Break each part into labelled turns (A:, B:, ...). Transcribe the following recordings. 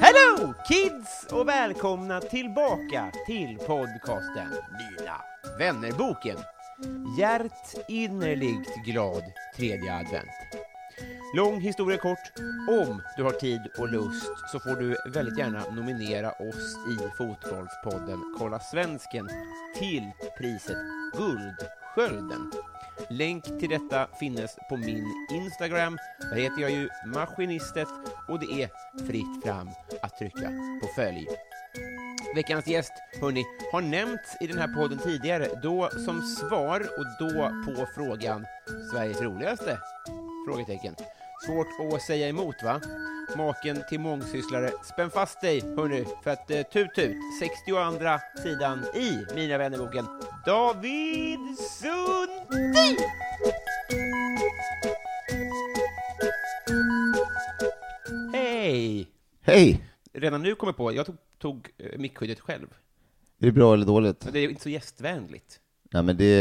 A: Hello kids och välkomna tillbaka till podcasten Mina vännerboken. Hjärt innerligt glad tredje advent. Lång historia kort. Om du har tid och lust så får du väldigt gärna nominera oss i Fotbollspodden Kolla Svensken till priset Guldskölden. Länk till detta finnes på min Instagram. Där heter jag ju Maskinistet och det är fritt fram att trycka på följ. Veckans gäst, hörni, har nämnts i den här podden tidigare, då som svar och då på frågan Sveriges roligaste? Frågetecken. Svårt att säga emot, va? Maken till mångsysslare. Spänn fast dig, hörni, för att eh, tut tut, 62 sidan i Mina vännerboken, David Sundin! Hej!
B: Hej!
A: redan nu kommer på, jag tog, tog eh, mickskyddet själv.
B: Är det bra eller dåligt?
A: Men det är ju inte så gästvänligt.
B: Nej men det,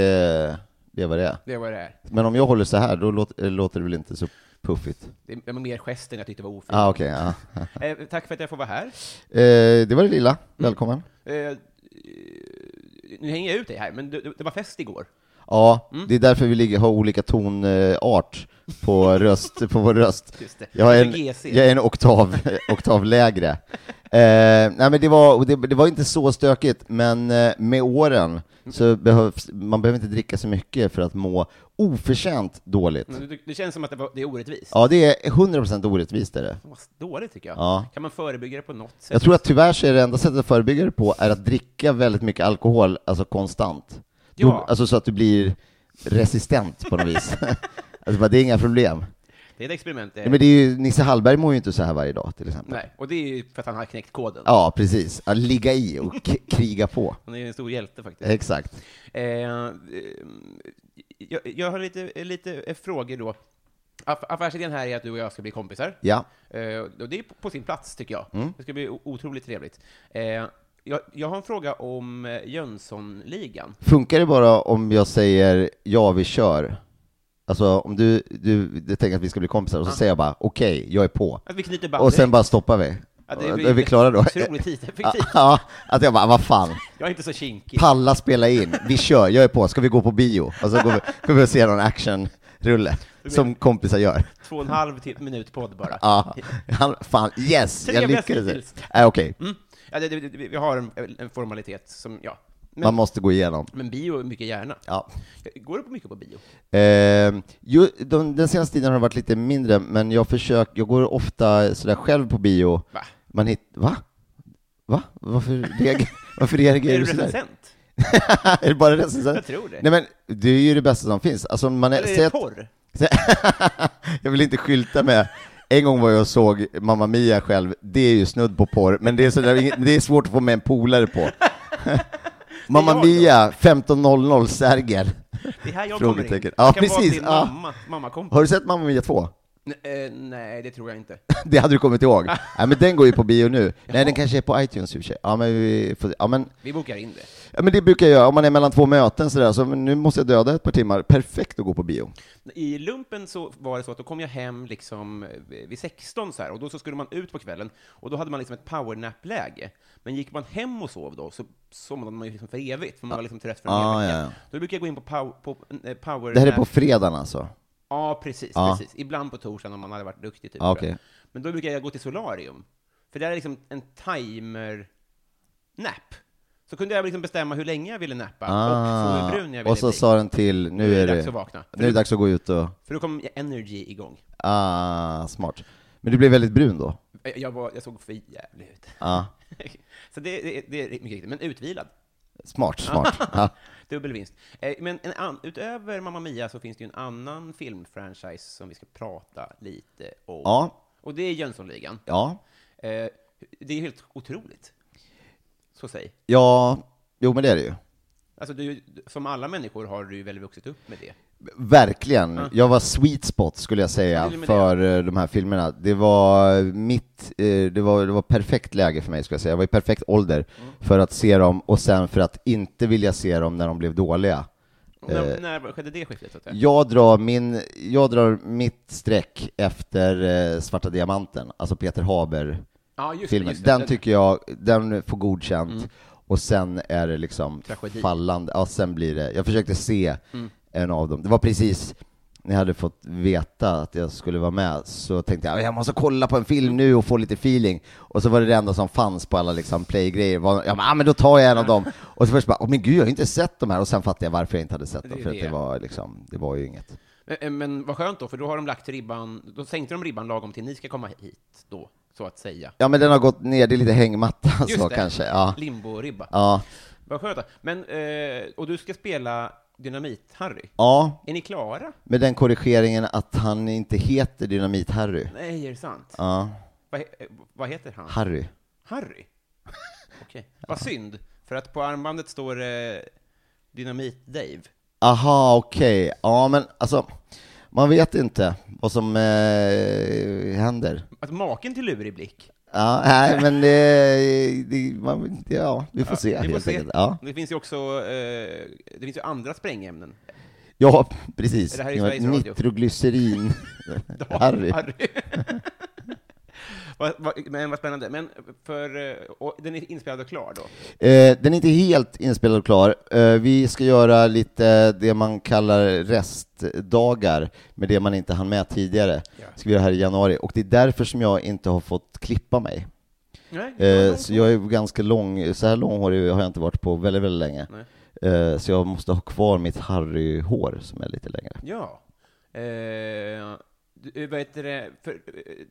B: det är vad det är.
A: Det är vad det är.
B: Men om jag håller så här, då låter, eh, låter det väl inte så puffigt?
A: Det är- det var mer gesten jag tyckte var ofint.
B: Ah, okej. ja.
A: Eh, tack för att jag får vara här.
B: eh, det var det
A: Mm.
B: lilla. Välkommen.
A: Eh, eh, nu hänger jag ut dig här, men det, det var fest igår.
B: Ja,
A: Mm.
B: det är därför vi ligger, har olika tonart på, röst, på vår röst.
A: Just det.
B: Jag är
A: Det är
B: en,
A: GC.
B: jag är en oktav, oktav lägre. Eh, nej men det var, och det, det var inte så stökigt, men eh, med åren
A: Mm.
B: så behövs, man behöver inte dricka så mycket för att må oförtjänt dåligt.
A: Men Det, det känns som att det, var, det är orättvist.
B: Ja, det är 100% orättvist är det.
A: Vad Dåligt tycker jag.
B: Ja.
A: Kan man förebygga det på något sätt?
B: Jag tror att tyvärr så är det enda sättet att förebygga det på är att dricka väldigt mycket alkohol, alltså konstant.
A: Ja.
B: Då, alltså så att du blir resistent på något vis. alltså bara, det är inga problem.
A: Eh. Det är ett experiment. Det.
B: Nej, Men det är ju, Nisse Hallberg mår ju inte så här varje dag till exempel.
A: Nej, och det är ju för att han har knäckt koden.
B: Ja, precis. Att ligga i och k- kriga på.
A: Han är ju en stor hjälte faktiskt.
B: Exakt.
A: Eh, eh, jag, jag har lite, lite eh, frågor då. Aff affärsidén här är att du och jag ska bli kompisar.
B: Ja.
A: Eh, och det är på- på sin plats, tycker jag.
B: Mm.
A: Det ska bli o- otroligt trevligt. Eh, jag, jag har en fråga om eh, Jönssonligan.
B: Funkar det bara om jag säger ja, vi kör? Alltså om du, du, du tänker att vi ska bli kompisar och så säger jag bara okej, jag är på.
A: Att vi knyter band
B: Och sen
A: direkt.
B: bara stoppar vi.
A: Ja,
B: Och
A: blir
B: då är vi klara då. Ah.
A: Otroligt tidseffektivt.
B: Ja, att jag bara, vad fan.
A: Jag är inte så kinkig.
B: Palla spela in, vi kör, jag är på, ska vi gå på bio? Och så går vi, går vi och ser någon actionrulle, som kompisar gör.
A: Två och en halv till, minut podd bara.
B: Ja, han, fan, yes, jag
A: Trevligast
B: lyckades.
A: hittills.
B: Äh, Okej,
A: Mm. Ja, det, det, det, vi har en, en formalitet som, ja. Men,
B: man måste gå igenom.
A: men bio är mycket gärna.
B: Ah. Ja.
A: Går du på mycket på bio?
B: Eh, ju, de, den senaste tiden har det varit lite mindre, men jag försöker, jag går ofta sådär själv på bio.
A: Va?
B: Man hit, va? Va? Varför, reager, varför reagerar
A: är
B: du
A: du
B: sådär?
A: recensent?
B: är det bara recensent?
A: Jag tror det.
B: Nej men, det är ju det bästa som finns. Alltså, man är,
A: Eller är
B: säg
A: det
B: att-
A: porr?
B: Så- jag vill inte skylta med en gång var jag och såg Mamma Mia själv, det är ju snudd på porr, men det är, sådär, inget- det är svårt att få med en polare på. Mamma
A: jag då.
B: Mia, 15.00 Sergel.
A: Det är här jag kommer in.
B: Frågetecken. Ja,
A: det kan vara
B: precis, Ah.
A: din
B: ja.
A: mamma, mammakompis.
B: Har du sett Mamma Mia 2?
A: Nej, eh, nej, det tror jag inte.
B: Det hade du kommit ihåg. Nej, men den går ju på bio nu. Nej, den kanske är på iTunes i och för sig. Ja, men, vi får, ja, men,
A: Vi bokar in det.
B: ja, men det brukar jag göra. Om man är mellan två möten sådär, så men nu måste jag döda ett par timmar. Perfekt att gå på bio.
A: I lumpen så var det så att då kom jag hem liksom eh, vid 16 så här, och då så skulle man ut på kvällen och då hade man liksom ett powernap-läge. Men gick man hem och sov då så somnade man ju liksom för evigt, för man var liksom trött för en
B: Ah,
A: hel vecka.
B: ja, ja.
A: Då brukar jag gå in på, pow, på eh, powernap.
B: Det här är på fredagen alltså.
A: Ja, precis,
B: Ja.
A: precis. Ibland på torsdagen om man hade varit duktig. Typ,
B: Ja,
A: tror jag.
B: okej.
A: Men då brukar jag gå till solarium. För där är liksom en timer-nap. Så kunde jag liksom bestämma hur länge jag ville nappa och
B: Ah.
A: så hur brun jag ville
B: och så
A: bli.
B: sa den till, nu är
A: dags att
B: det,
A: vakna. För,
B: nu är det dags att gå ut och,
A: för då kom energy igång.
B: ah, smart. Men du blev väldigt brun då?
A: Eh, Jag, jag, var, jag såg för jävlig ut.
B: Ja,
A: Så det, det, det är mycket riktigt, men utvilad.
B: smart, smart. Ja.
A: Dubbel vinst. Eh, Men en an, utöver Mamma Mia så finns det ju en annan filmfranchise som vi ska prata lite om.
B: Ja.
A: Och det är Jönssonligan.
B: ja.
A: Eh, det är helt otroligt. Så säg.
B: Ja, jo men det är det ju.
A: Alltså, du, som alla människor har du väl vuxit upp med det?
B: Verkligen. Jag var sweet spot skulle jag
A: Ja,
B: säga
A: det är med
B: för eh, de här filmerna. Det var mitt, eh, det var, det var perfekt läge för mig skulle jag säga. Jag var i perfekt ålder
A: Mm.
B: för att se dem och sen för att inte vilja se dem när de blev dåliga.
A: Och
B: Eh,
A: När, när skedde det skiftet? Så att säga?
B: Jag drar, min, jag drar mitt streck efter eh, Svarta Diamanten, alltså Peter Haber-filmen.
A: Ja, just, just det. Mm.
B: Den tycker jag, den får godkänt. Och sen är det liksom
A: Tragedi. Mm.
B: fallande. Ja, sen blir det. Jag försökte se en av dem. Det var precis när jag hade fått veta att jag skulle vara med så tänkte jag jag måste kolla på en film nu och få lite feeling. Och så var det det enda som fanns på alla liksom playgrejer. Var- Ja, men, ah, men då tar jag en av dem. Och så först bara, åh men gud jag har inte sett de här. Och sen fattade jag varför jag inte hade sett
A: Det
B: dem.
A: är
B: För att
A: det.
B: det var liksom, det var ju inget.
A: Men- eh, Men vad skönt då, för då har de lagt ribban, då sänkte de ribban lagom till ni ska komma hit då, så att säga.
B: Ja men den har gått ner, det är lite hängmatta så
A: det.
B: kanske. Ja.
A: Limbo-ribba.
B: Ja.
A: Vad skönt. då. Men, eh, och du ska spela Dynamit-Harry.
B: ja,
A: Är ni klara?
B: med den korrigeringen att han inte heter Dynamit-Harry.
A: Nej, är det sant?
B: Ja,
A: Vad, he- eh, vad heter han?
B: Harry.
A: Harry? Okej. Vad synd, för att på armbandet står eh, Dynamit-Dave.
B: Aha, okej. Ja, men alltså, man vet inte vad som eh, händer.
A: Att maken till lurig blick.
B: Ja, nej, men det, det, man, ja, vi får se
A: Vi får
B: helt
A: se.
B: enkelt. Ja.
A: Det finns ju också eh, det finns ju andra sprängämnen.
B: ja, precis.
A: Det här är Sveriges Radio.
B: Nitroglycerin. Harry.
A: Vad- vad- Men vad spännande. Men för, eh, och den är inspelad och klar då?
B: Eh, den är inte helt inspelad och klar. Eh, vi ska göra lite det man kallar restdagar med det man inte hann med tidigare. Ska vi göra här i januari. Och det är därför som jag inte har fått klippa mig.
A: Nej,
B: Eh, så jag är ganska lång, så här långhårig har jag inte varit på väldigt, väldigt länge. Eh, så jag måste ha kvar mitt Harry-hår som är lite längre.
A: Ja. Eh, du, vad heter det? För, eh,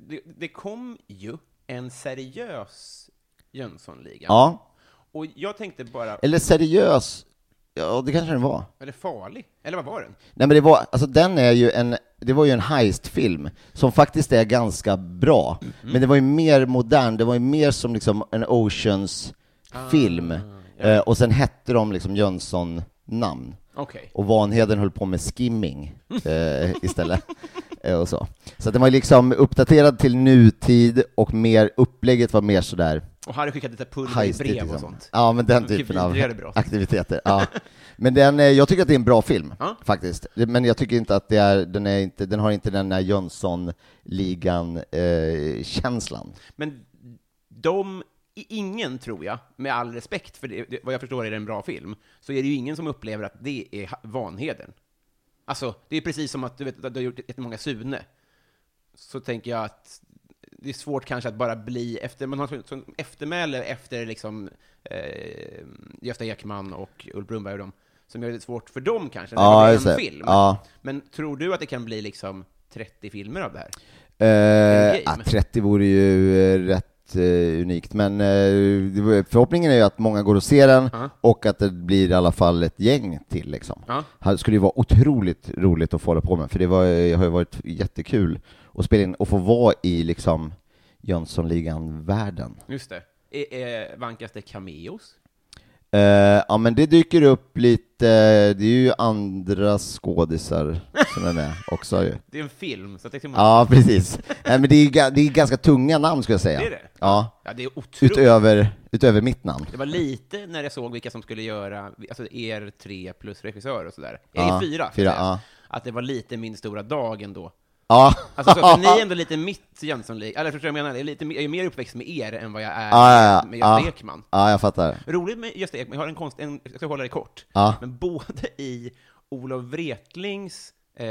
A: det, det kom ju en seriös Jönssonliga.
B: Ja,
A: Och jag tänkte bara,
B: eller seriös, ja det kanske den var.
A: eller farlig, eller vad var den?
B: Nej men det var, alltså den är ju en, det var ju en heistfilm som faktiskt är ganska bra. Men det var ju mer modern, det var ju mer som liksom en Oceans-film. eh, och sen hette de liksom Jönsson-namn.
A: Okej.
B: Och Vanheden höll på med skimming eh, istället. eh, och så. så att den var ju liksom uppdaterad till nutid och mer, upplägget var mer sådär
A: Och Harry skickade lite pulver i
B: heistigt.
A: brev och
B: Liksom.
A: sånt. Typ
B: Ja, men den
A: Mycket
B: typen av
A: vidrigare brott.
B: aktiviteter. Ja. Men den, eh, jag tycker att det är en bra film,
A: Ja.
B: faktiskt. Men jag tycker inte att det är, den, är inte, den har inte den här eh, Jönssonligan-känslan.
A: Men de, i- ingen tror jag, med all respekt för det, det, vad jag förstår är det en bra film, så är det ju ingen som upplever att det är ha- Vanheden. Alltså, det är precis som att du vet, att du har gjort ett många Sune. Så tänker jag att det är svårt kanske att bara bli efter, man har så- sån eftermäle efter liksom eh, Gösta Ekman och Ulf Brunnberg och dem, som gör det svårt för dem kanske, när
B: Ja,
A: det
B: just
A: är en
B: det.
A: film.
B: Ja.
A: Men tror du att det kan bli liksom 30 filmer av det här?
B: Eh,
A: game.
B: ja, 30 vore ju eh, rätt eh, unikt, men eh, det var- förhoppningen är ju att många går och ser den och att det blir i alla fall ett gäng till. Liksom.
A: Ja.
B: Det skulle ju vara otroligt roligt att få hålla på med, för det var, eh, har ju varit jättekul att spela in och få vara i liksom, Jönssonligan-världen.
A: Just det. Är, är, vankas det cameos?
B: Eh, ja men det dyker upp lite, det är ju andra skådisar som är med också ju.
A: Det är en film, så att det är
B: Ja, precis. Nej, men det är ju ga- det är ganska tunga namn skulle jag säga.
A: Det är det?
B: Ja.
A: ja, det är otroligt.
B: Utöver, utöver mitt namn.
A: Det var lite när jag såg vilka som skulle göra, alltså er tre plus regissör och sådär. Ja,
B: Ja,
A: är fyra.
B: fyra,
A: säga.
B: ja.
A: Att det var lite min stora dag ändå.
B: Ja.
A: Alltså, så att ni är ändå lite mitt Jönssonlik, eller förstår du vad jag menar? Jag är, lite, mer- jag är mer uppväxt med er än vad jag är
B: Ja, ja, ja.
A: med Gösta
B: Ja.
A: Ekman.
B: ja, jag fattar.
A: Roligt med Gösta Ekman, jag har en konst, en, jag ska hålla det kort,
B: Ja.
A: men både i Olof Wretlings eh,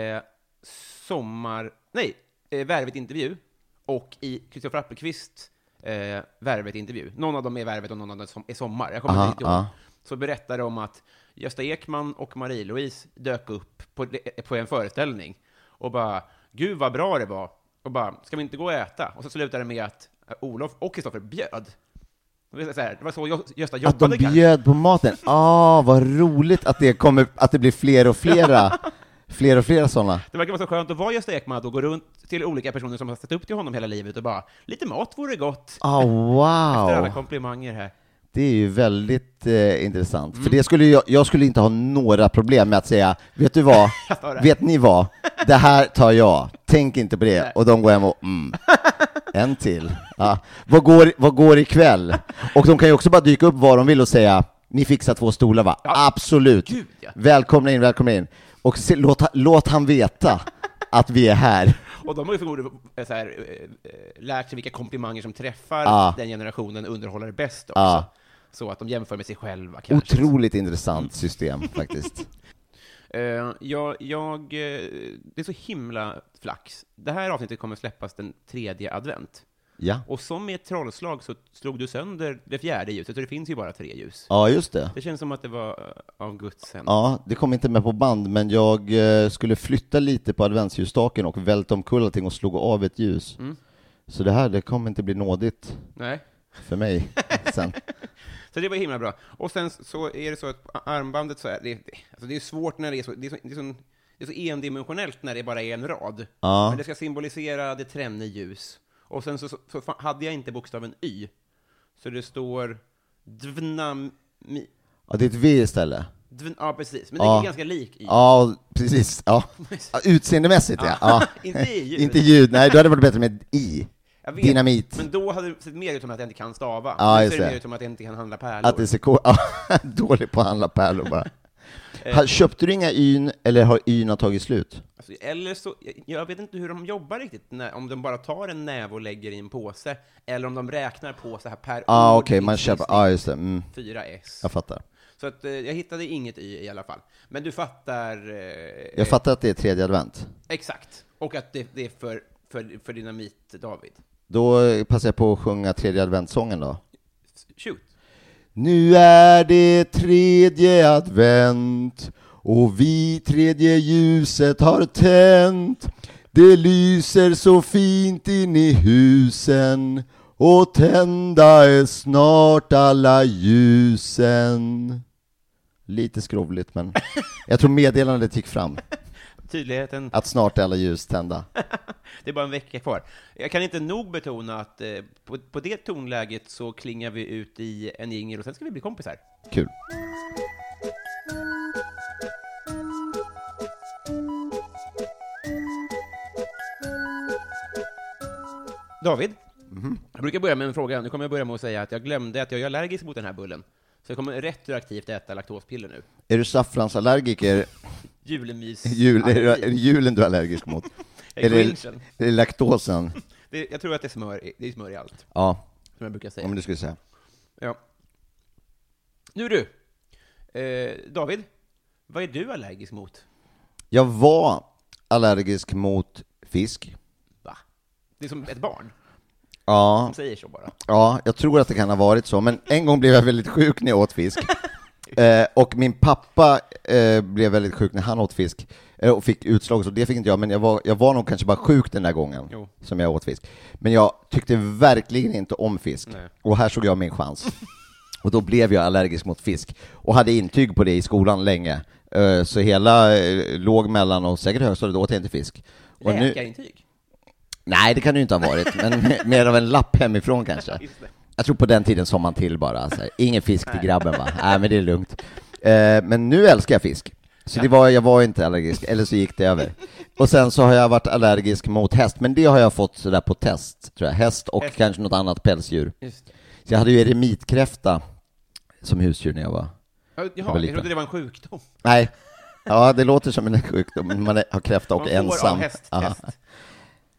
A: sommar, nej, eh, Värvet-intervju och i Kristoffer Appelqvist eh, Värvet-intervju. Någon av dem är Värvet och någon av dem är som- är Sommar, jag kommer
B: Aha,
A: inte riktigt ihåg.
B: ja.
A: Så berättar de att Gösta Ekman och Marie-Louise dök upp på, eh, på en föreställning och bara ”Gud vad bra det var” och bara ”Ska vi inte gå och äta?” och så slutar det med att eh, Olof och Kristoffer bjöd. Och det är så här, Det var så Gö- Gösta
B: Att de
A: jobbade kanske.
B: bjöd på maten. Ah, vad roligt att det, kommer, att det blir fler och flera, fler och flera sådana.
A: Det verkar vara så skönt att vara Gösta Ekman och gå runt till olika personer som har sett upp till honom hela livet och bara ”lite mat vore gott”
B: Ah,
A: efter alla
B: wow.
A: komplimanger här.
B: Det är ju väldigt eh, intressant.
A: Mm.
B: För det skulle jag, jag skulle inte ha några problem med att säga, vet du vad,
A: Jag tar det."
B: vet ni vad, det här tar jag, tänk inte på det. Och de går hem och, mm, en till. Ja. Vad, går, vad går ikväll? Och de kan ju också bara dyka upp var de vill och säga, ni fixar två stolar va? Absolut.
A: Gud, ja.
B: Välkomna in, välkomna in. Och se, låt, ha- låt han veta att vi är här.
A: Och de har ju förmodligen eh, så här, eh, eh, lärt sig vilka komplimanger som träffar
B: Ja.
A: den generationen underhållare bäst också.
B: Ja.
A: Så att de jämför med sig själva kanske.
B: Otroligt intressant system faktiskt.
A: Eh, jag, jag, eh, det är så himla flax. Det här avsnittet kommer släppas den tredje advent.
B: Ja,
A: Och som i ett trollslag så slog du sönder det fjärde ljuset, så det finns ju bara tre ljus.
B: ja just det.
A: Det känns som att det var eh, av Guds händ.
B: Ja, det kom inte med på band, men jag eh, skulle flytta lite på adventsljusstaken och välta omkull allting och slog av ett ljus.
A: Mm.
B: Så det här, det kommer inte bli nådigt
A: Nej.
B: för mig sen.
A: Så det var himla bra. Och sen så är det så att armbandet så här, det, det- alltså det är svårt när det är så, det är så, det är så, det är så endimensionellt när det bara är en rad.
B: Ja.
A: Men det ska symbolisera det tränne ljus. Och sen så, så, så fa- hade jag inte bokstaven Y, så det står dvnam... mi-
B: Ja, det är ett V istället.
A: Dvn, ja, precis. Men det
B: Ja.
A: är ganska lik Y.
B: Ja, precis. Ja. Ja, Utseendemässigt ja. ja.
A: Inte i ljud.
B: Inte ljud, nej då hade det varit bättre med I.
A: Jag vet,
B: Dynamit.
A: Men då hade det sett mer ut som att jag inte kan stava.
B: Ja,
A: nu
B: just
A: ser det
B: det.
A: mer ut som att jag inte kan handla pärlor.
B: Att det ser cool. ja, Dålig på att handla pärlor bara.
A: Eh.
B: Ha- Köpte du inga yn, eller har yna tagit slut?
A: Alltså, eller så, jag- jag vet inte hur de jobbar riktigt, när, om de bara tar en näve och lägger i en påse, eller om de räknar på så här per
B: Ja, ah,
A: ord,
B: okej, man
A: visst,
B: köper,
A: visst,
B: ja ah, just det. Mm,
A: 4S.
B: jag fattar.
A: Så att, eh, jag hittade inget i i alla fall. Men du fattar... Eh,
B: Jag fattar att det är tredje advent.
A: Exakt. Och att det, det är för, för, för dynamit, David.
B: Då eh, passar jag på att sjunga tredje adventssången då.
A: Shoot.
B: Nu är det tredje advent och vi tredje ljuset har tänt. Det lyser så fint in i husen och tända är snart alla ljusen. Lite skrovligt men jag tror meddelandet gick fram.
A: Tydligheten.
B: Att snart är alla ljus tända.
A: Det är bara en vecka kvar. Jag kan inte nog betona att eh, på, på det tonläget så klingar vi ut i en jingel och sen ska vi bli kompisar.
B: Kul.
A: David,
B: Mhm.
A: jag brukar börja med en fråga. Nu kommer jag börja med att säga att jag glömde att jag är allergisk mot den här bullen. Så jag kommer retroaktivt äta laktospiller nu.
B: Är du saffransallergiker?
A: Julmys...
B: Jul, är, det, är det
A: allergi.
B: julen du är allergisk mot?
A: Jag är
B: är, det,
A: grinchen.
B: är det laktosen?
A: det, jag tror att det är, smör, i- det är smör i allt,
B: Ja,
A: som jag brukar säga.
B: om du skulle säga.
A: Ja. Nu du, eh, David, vad är du allergisk mot?
B: Jag var allergisk mot fisk.
A: Va? Det är som ett barn
B: Ja,
A: som säger så bara.
B: ja, jag tror att det kan ha varit så, men en gång blev jag väldigt sjuk när jag åt fisk. Eh, och min pappa eh, blev väldigt sjuk när han åt fisk eh, och fick utslag, så det fick inte jag, men jag var, jag var nog kanske bara sjuk den där gången
A: Jo.
B: som jag åt fisk. Men jag tyckte verkligen inte om fisk, och här såg jag min chans. Och då blev jag allergisk mot fisk, och hade intyg på det i skolan länge. Eh, så hela eh, låg mellan och säkert högstadiet åt jag inte fisk. Och nu-
A: Läkarintyg?
B: Nej, det kan det ju inte ha varit, men me- mer av en lapp hemifrån kanske.
A: Just det.
B: Jag tror på den tiden som man till bara, alltså, ingen fisk till grabben va? Nej, men det är lugnt. Eh, men nu älskar jag fisk. Så det var, jag var inte allergisk, eller så gick det över. Och sen så har jag varit allergisk mot häst, men det har jag fått sådär på test, tror jag. Häst och
A: Häst.
B: kanske något annat pälsdjur.
A: Just det.
B: Så jag hade ju eremitkräfta som husdjur när jag var...
A: Ja,
B: var
A: Jaha, jag
B: liten.
A: trodde det var en sjukdom.
B: Nej, ja det låter som en sjukdom, men man är- har kräfta och
A: Man får
B: ensam.
A: av häst,
B: Ja.
A: häst.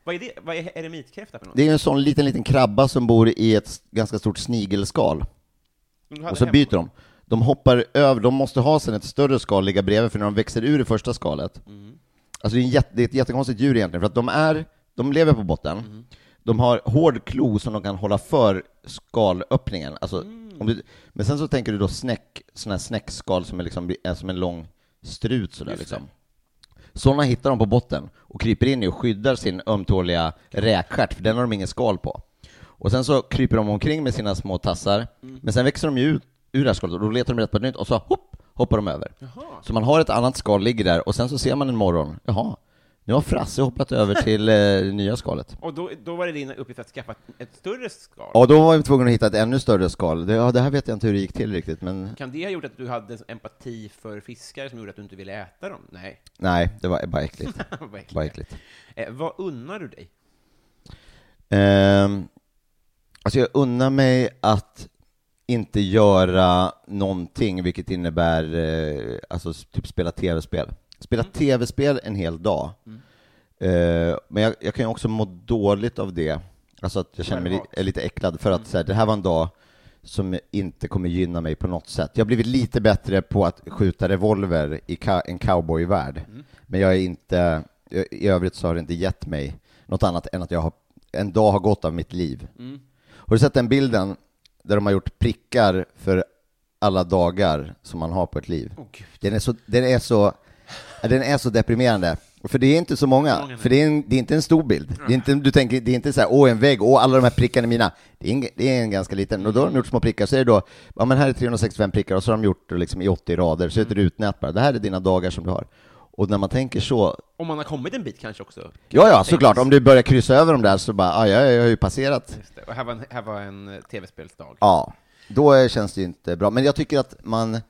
A: Vad är det? Vad är eremitkräfta för något?
B: Det är ju en sån liten, liten krabba som bor i ett ganska stort snigelskal.
A: Som du hade
B: Och så
A: hemma?
B: byter de. De hoppar över, de måste ha sen ett större skal ligga bredvid, för när de växer ur det första skalet. Alltså det är, en jätte, det är ett jättekonstigt djur egentligen, för att de är, de lever på botten. De har hård klo som de kan hålla för skalöppningen. Alltså, om du, men sen så tänker du då snäck, sådana här snäckskal som är, liksom, är som en lång strut sådär liksom. Sådana hittar de på botten och kryper in i och skyddar sin ömtåliga räkstjärt, för den har de ingen skal på. Och sen så kryper de omkring med sina små tassar, men sen växer de ju ut ur det här skalet och då letar de rätt på ett nytt och så hopp, hoppar de över. Så man har ett annat skal ligger där och sen så ser man en morgon, jaha, nu har Frasse hoppat över till eh, det nya skalet.
A: Och då, då var det din uppgift att skaffa ett- ett större skal?
B: Ja, då var vi tvungna att hitta ett ännu större skal. Det, ja, det här vet jag inte hur det gick till riktigt, men
A: Kan det ha gjort att du hade en empati för fiskare som gjorde att du inte ville äta dem? Nej.
B: nej, det var bara äckligt.
A: Vad äckligt.
B: Bara äckligt.
A: Eh, vad unnar du dig?
B: Ehm, alltså jag unnar mig att inte göra någonting, vilket innebär eh, alltså s- typ spela tv-spel. Spela tv-spel en hel dag. Eh, men jag, jag kan ju också må dåligt av det. Alltså att jag känner mig li- är lite äcklad för att så här, det här var en dag som inte kommer gynna mig på något sätt. Jag har blivit lite bättre på att skjuta revolver i ca- en cowboyvärld, men jag är inte, jag- i övrigt så har det inte gett mig något annat än att jag har, en dag har gått av mitt liv. Har du sett den bilden där de har gjort prickar för alla dagar som man har på ett liv? den, är så, den, är så, ja, den är så deprimerande. För det är inte så många, för det är, en, det är inte en stor bild. Det är inte, du tänker, det är inte så här, åh en vägg, åh alla de här prickarna är mina. Det är, en, det är en ganska liten, och då har de gjort små prickar, så är det då, ja men här är 365 prickar, och så har de gjort det liksom i 80 rader, så är
A: Mm.
B: det rutnät bara, det här är dina dagar som du har. Och när man tänker så,
A: Om man har kommit en bit kanske också?
B: ja ja såklart, om du börjar kryssa över dem där så bara, "Ah, ja jag, jag har ju passerat
A: Just det. Och här var en, här var en eh, tv-spelsdag.
B: Ja, då eh, känns det ju inte bra. Men jag tycker att man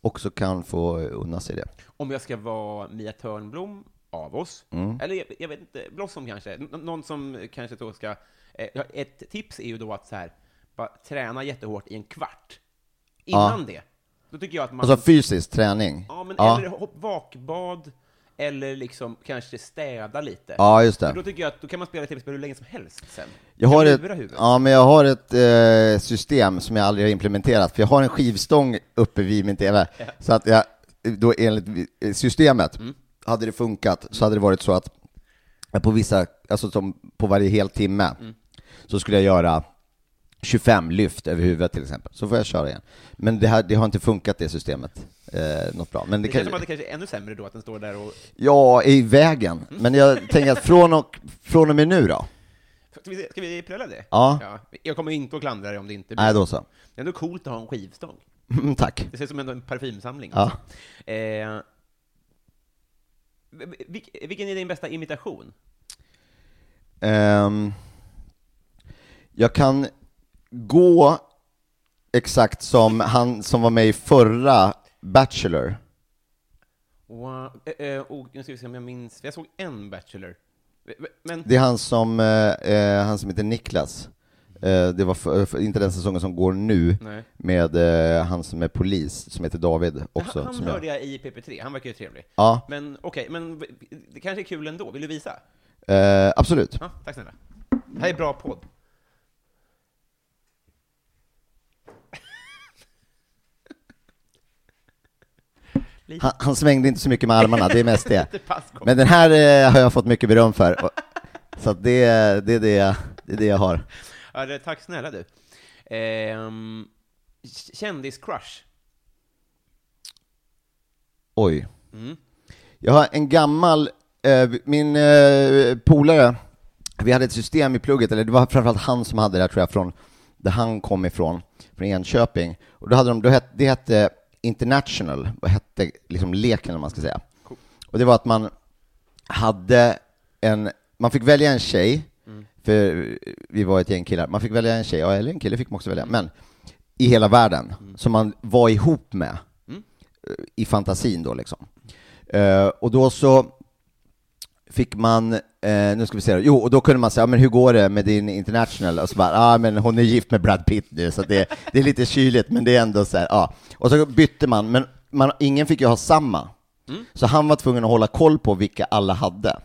B: också kan få unna sig det.
A: Om jag ska vara Mia Törnblom av oss,
B: Mm.
A: eller jag, jag vet inte, Blossom kanske, N- någon som kanske då ska... Eh, ja, ett tips är ju då att så här, bara träna jättehårt i en kvart innan det. Då tycker jag att man...
B: Alltså fysisk träning.
A: ja, men eller hopp, vakbad, eller liksom kanske städa lite.
B: Ja, just
A: För
B: det.
A: då tycker jag att då kan man spela tv-spel hur länge som helst sen.
B: Jag har
A: kan
B: ett,
A: lura huvudet.
B: ja, men jag har ett eh, system som jag aldrig har implementerat, för jag har en skivstång uppe vid min TV. Så att jag, då enligt eh, systemet,
A: Mm.
B: hade det funkat så hade det varit så att jag på vissa, alltså som på varje hel timme,
A: Mm.
B: så skulle jag göra 25 lyft över huvudet till exempel, så får jag köra igen. Men det, här, det har inte funkat det systemet eh, något bra. Men det,
A: Det
B: kan,
A: känns som att det kanske är ännu sämre då att den står där och...
B: Ja, i vägen.
A: Mm.
B: Men jag tänker att från och, från och med nu då?
A: Ska vi, ska vi pröva det?
B: Ja.
A: Jag kommer inte att klandra dig om det inte blir
B: Nej, då så.
A: Det är ändå coolt att ha en skivstång.
B: Mm, tack.
A: Det ser ut som ändå en parfymsamling.
B: Ja.
A: också. Eh, vil- vilken är din bästa imitation?
B: Ehm, jag kan gå exakt som han som var med i förra Bachelor.
A: Wow. Eh, eh, oh, nu ska vi se om jag minns. Jag såg en Bachelor. Men
B: Det är han som, eh, eh, han som heter Niklas. Eh, det var för, för, inte den säsongen som går nu,
A: Nej.
B: med eh, han som är polis, som heter David också.
A: han, han
B: som
A: hörde jag i PP3, han verkar ju trevlig.
B: Ja.
A: Men okej, men v- det kanske är kul ändå. Vill du visa?
B: jag. Eh, absolut.
A: Ja, tack snälla. Det här är bra podd.
B: Han, han svängde inte så mycket med armarna, det är mest det.
A: Lite passkort.
B: Men den här eh, har jag fått mycket beröm för. Och- Så att det, det, är det, jag- det är det jag har.
A: Ja, det, tack snälla du. Ehm, k- Kändiscrush.
B: Oj. Jag har en gammal, eh, min eh, polare, vi hade ett system i plugget, eller det var framförallt han som hade det här tror jag, från där han kom ifrån, från Enköping. Och då hade de, då hette, det hette International, vad hette liksom leken eller vad man ska säga. Och det var att man hade en, man fick välja en tjej, för vi var ett gäng killar, man fick välja en tjej, ja, eller en kille fick man också välja, men i hela världen, som man var ihop med i fantasin då liksom. Eh, och då så fick man, eh, nu ska vi se, jo, och då kunde man säga, "Ja, men hur går det med din international? Och så bara, ah, men hon är gift med Brad Pitt nu, så att det, det är lite kyligt, men det är ändå så här, ja. Och så bytte man, men man, ingen fick ju ha samma. Så han var tvungen att hålla koll på vilka alla hade.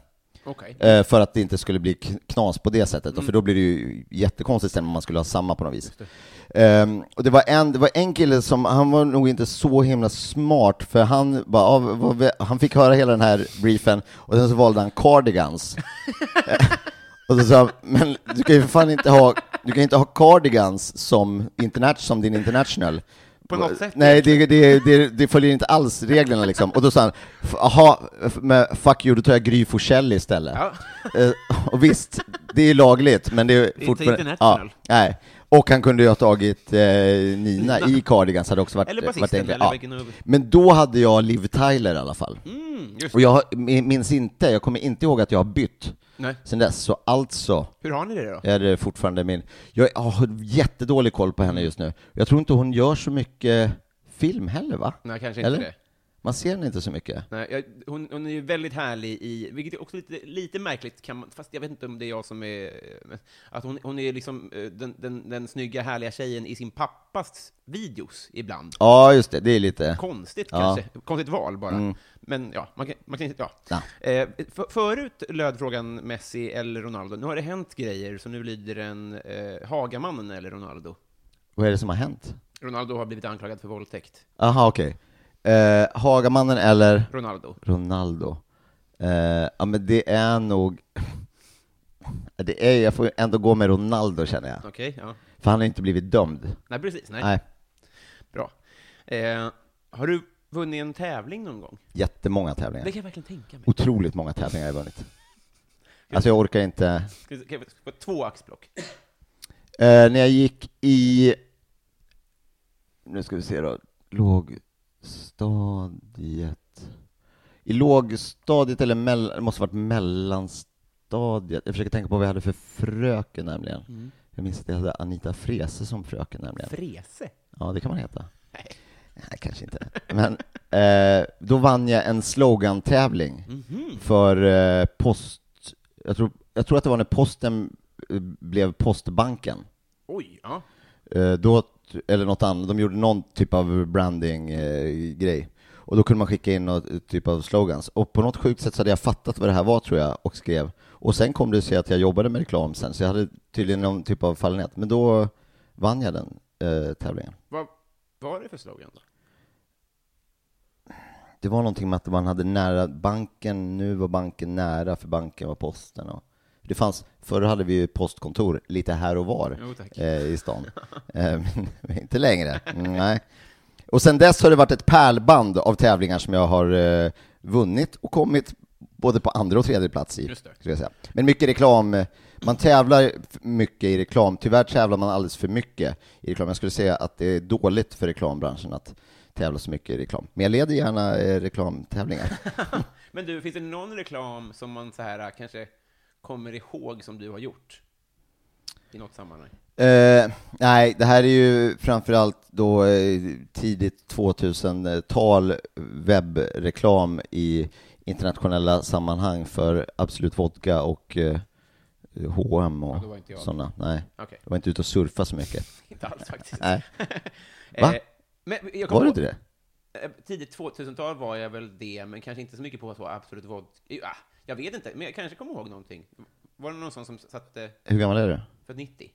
A: Okej.
B: Eh, För att det inte skulle bli k- knas på det sättet, då, för då blir det ju jättekonstigt sen om man skulle ha samma på något vis. Ehm, och det, var en, det var en kille som, han var nog inte så himla smart, för han, bara, ah, vad vi- han fick höra hela den här briefen, och sen så valde han cardigans. Och så sa han, men du kan ju för fan inte ha, du kan inte ha cardigans som, interna- som din international.
A: På något sätt.
B: Nej, det, det, det, det följer inte alls reglerna liksom. Och då sa han, "F- jaha, f- men fuck you, då tar jag Gry Forssell istället. Eh, Och visst, det är lagligt, men det är fortfarande...
A: international.
B: Ja, nej. Och han kunde ju ha tagit eh, Nina i Cardigans, hade också varit...
A: Eller basisten,
B: varit enkelt.
A: eller vilken av-
B: Men då hade jag Liv Tyler i alla fall.
A: Mm,
B: och jag har- minns inte, jag kommer inte ihåg att jag har bytt
A: Nej.
B: sen dess, så alltså
A: Hur har ni det då?
B: är det fortfarande min... Jag har jättedålig koll på
A: Mm.
B: henne just nu. Jag tror inte hon gör så mycket film heller, va?
A: Nej, kanske inte det.
B: Man ser henne inte så mycket.
A: Nej, jag, hon, hon är ju väldigt härlig i, vilket är också lite, lite märkligt, kan man, fast jag vet inte om det är jag som är... men Att hon, hon är liksom eh, den, den, den snygga, härliga tjejen i sin pappas videos ibland.
B: Ja, just det, det är lite...
A: Konstigt
B: Ja. Mm.
A: kanske, konstigt val bara. Men ja, man kan, man kan ja.
B: Ja.
A: Eh, för, förut löd frågan Messi eller Ronaldo. Nu har det hänt grejer, så nu lyder den eh, Hagamannen eller Ronaldo.
B: Vad är det som har hänt?
A: Ronaldo har blivit anklagad för våldtäkt.
B: Aha, okej. Eh, Hagamannen eller
A: Ronaldo.
B: Ronaldo? Eh, ja, men det är nog... Det är, jag får ändå gå med Ronaldo, känner jag.
A: Okej, ja.
B: För han har inte blivit dömd.
A: Nej, precis. Nej.
B: Nej,
A: Bra. Eh, har du vunnit en tävling någon gång?
B: jättemånga
A: Det
B: tävlingar.
A: kan jag verkligen tänka mig.
B: Otroligt många tävlingar har jag vunnit. Alltså, jag orkar inte...
A: Ska vi- Kan jag få två axplock?
B: Eh, när jag gick i, nu ska vi se då, lågstadiet. I lågstadiet eller mellan, det måste ha varit mellanstadiet. Jag försöker tänka på vad jag hade för fröken nämligen.
A: Mm.
B: Jag minns att jag hade Anita Frese som fröken nämligen.
A: Frese?
B: Ja, det kan man heta. Nej. kanske inte. Men eh, då vann jag en slogantävling för eh, post... Jag tror, jag tror att det var när posten eh, blev Postbanken.
A: Oj, ja.
B: Eh, då, eller något annat, de gjorde någon typ av branding-grej. och då kunde man skicka in någon typ av slogans. Och på något sjukt sätt så hade jag fattat vad det här var tror jag, och skrev. Och sen kom det sig att jag jobbade med reklam sen, så jag hade tydligen någon typ av fallenhet. Men då vann jag den eh, tävlingen.
A: Vad var det för slogan då?
B: Det var någonting med att man hade nära banken, nu var banken nära för banken var posten. Och det fanns, förr hade vi ju postkontor lite här och var
A: Jo, tack.
B: eh, i stan. Eh, men inte längre. Mm, nej. Och sen dess har det varit ett pärlband av tävlingar som jag har eh, vunnit och kommit både på andra och tredje plats i.
A: Just det.
B: skulle jag säga. Men mycket reklam, eh, man tävlar f- mycket i reklam. Tyvärr tävlar man alldeles för mycket i reklam. Jag skulle säga att det är dåligt för reklambranschen att tävla så mycket i reklam. Men jag leder gärna eh, reklamtävlingar.
A: Men du, finns det någon reklam som man så här äh, kanske kommer ihåg som du har gjort? I något sammanhang?
B: Eh, nej, det här är ju framförallt då eh, tidigt 2000-tal webbreklam i internationella sammanhang för Absolut Vodka och eh, H&M och
A: Ja, då var inte jag.
B: sådana. Nej,
A: Okej.
B: jag var inte ute och surfa så mycket.
A: Inte alls faktiskt.
B: Nej.
A: Eh,
B: Va?
A: Men jag kom
B: Var du
A: på-
B: inte det?
A: Eh, Tidigt 2000-tal var jag väl det, men kanske inte så mycket på så absolut vodka. Jo, ah, Jag vet inte, men jag kanske kommer ihåg någonting. Var det någon sån som satte
B: Hur gammal är du?
A: för 90?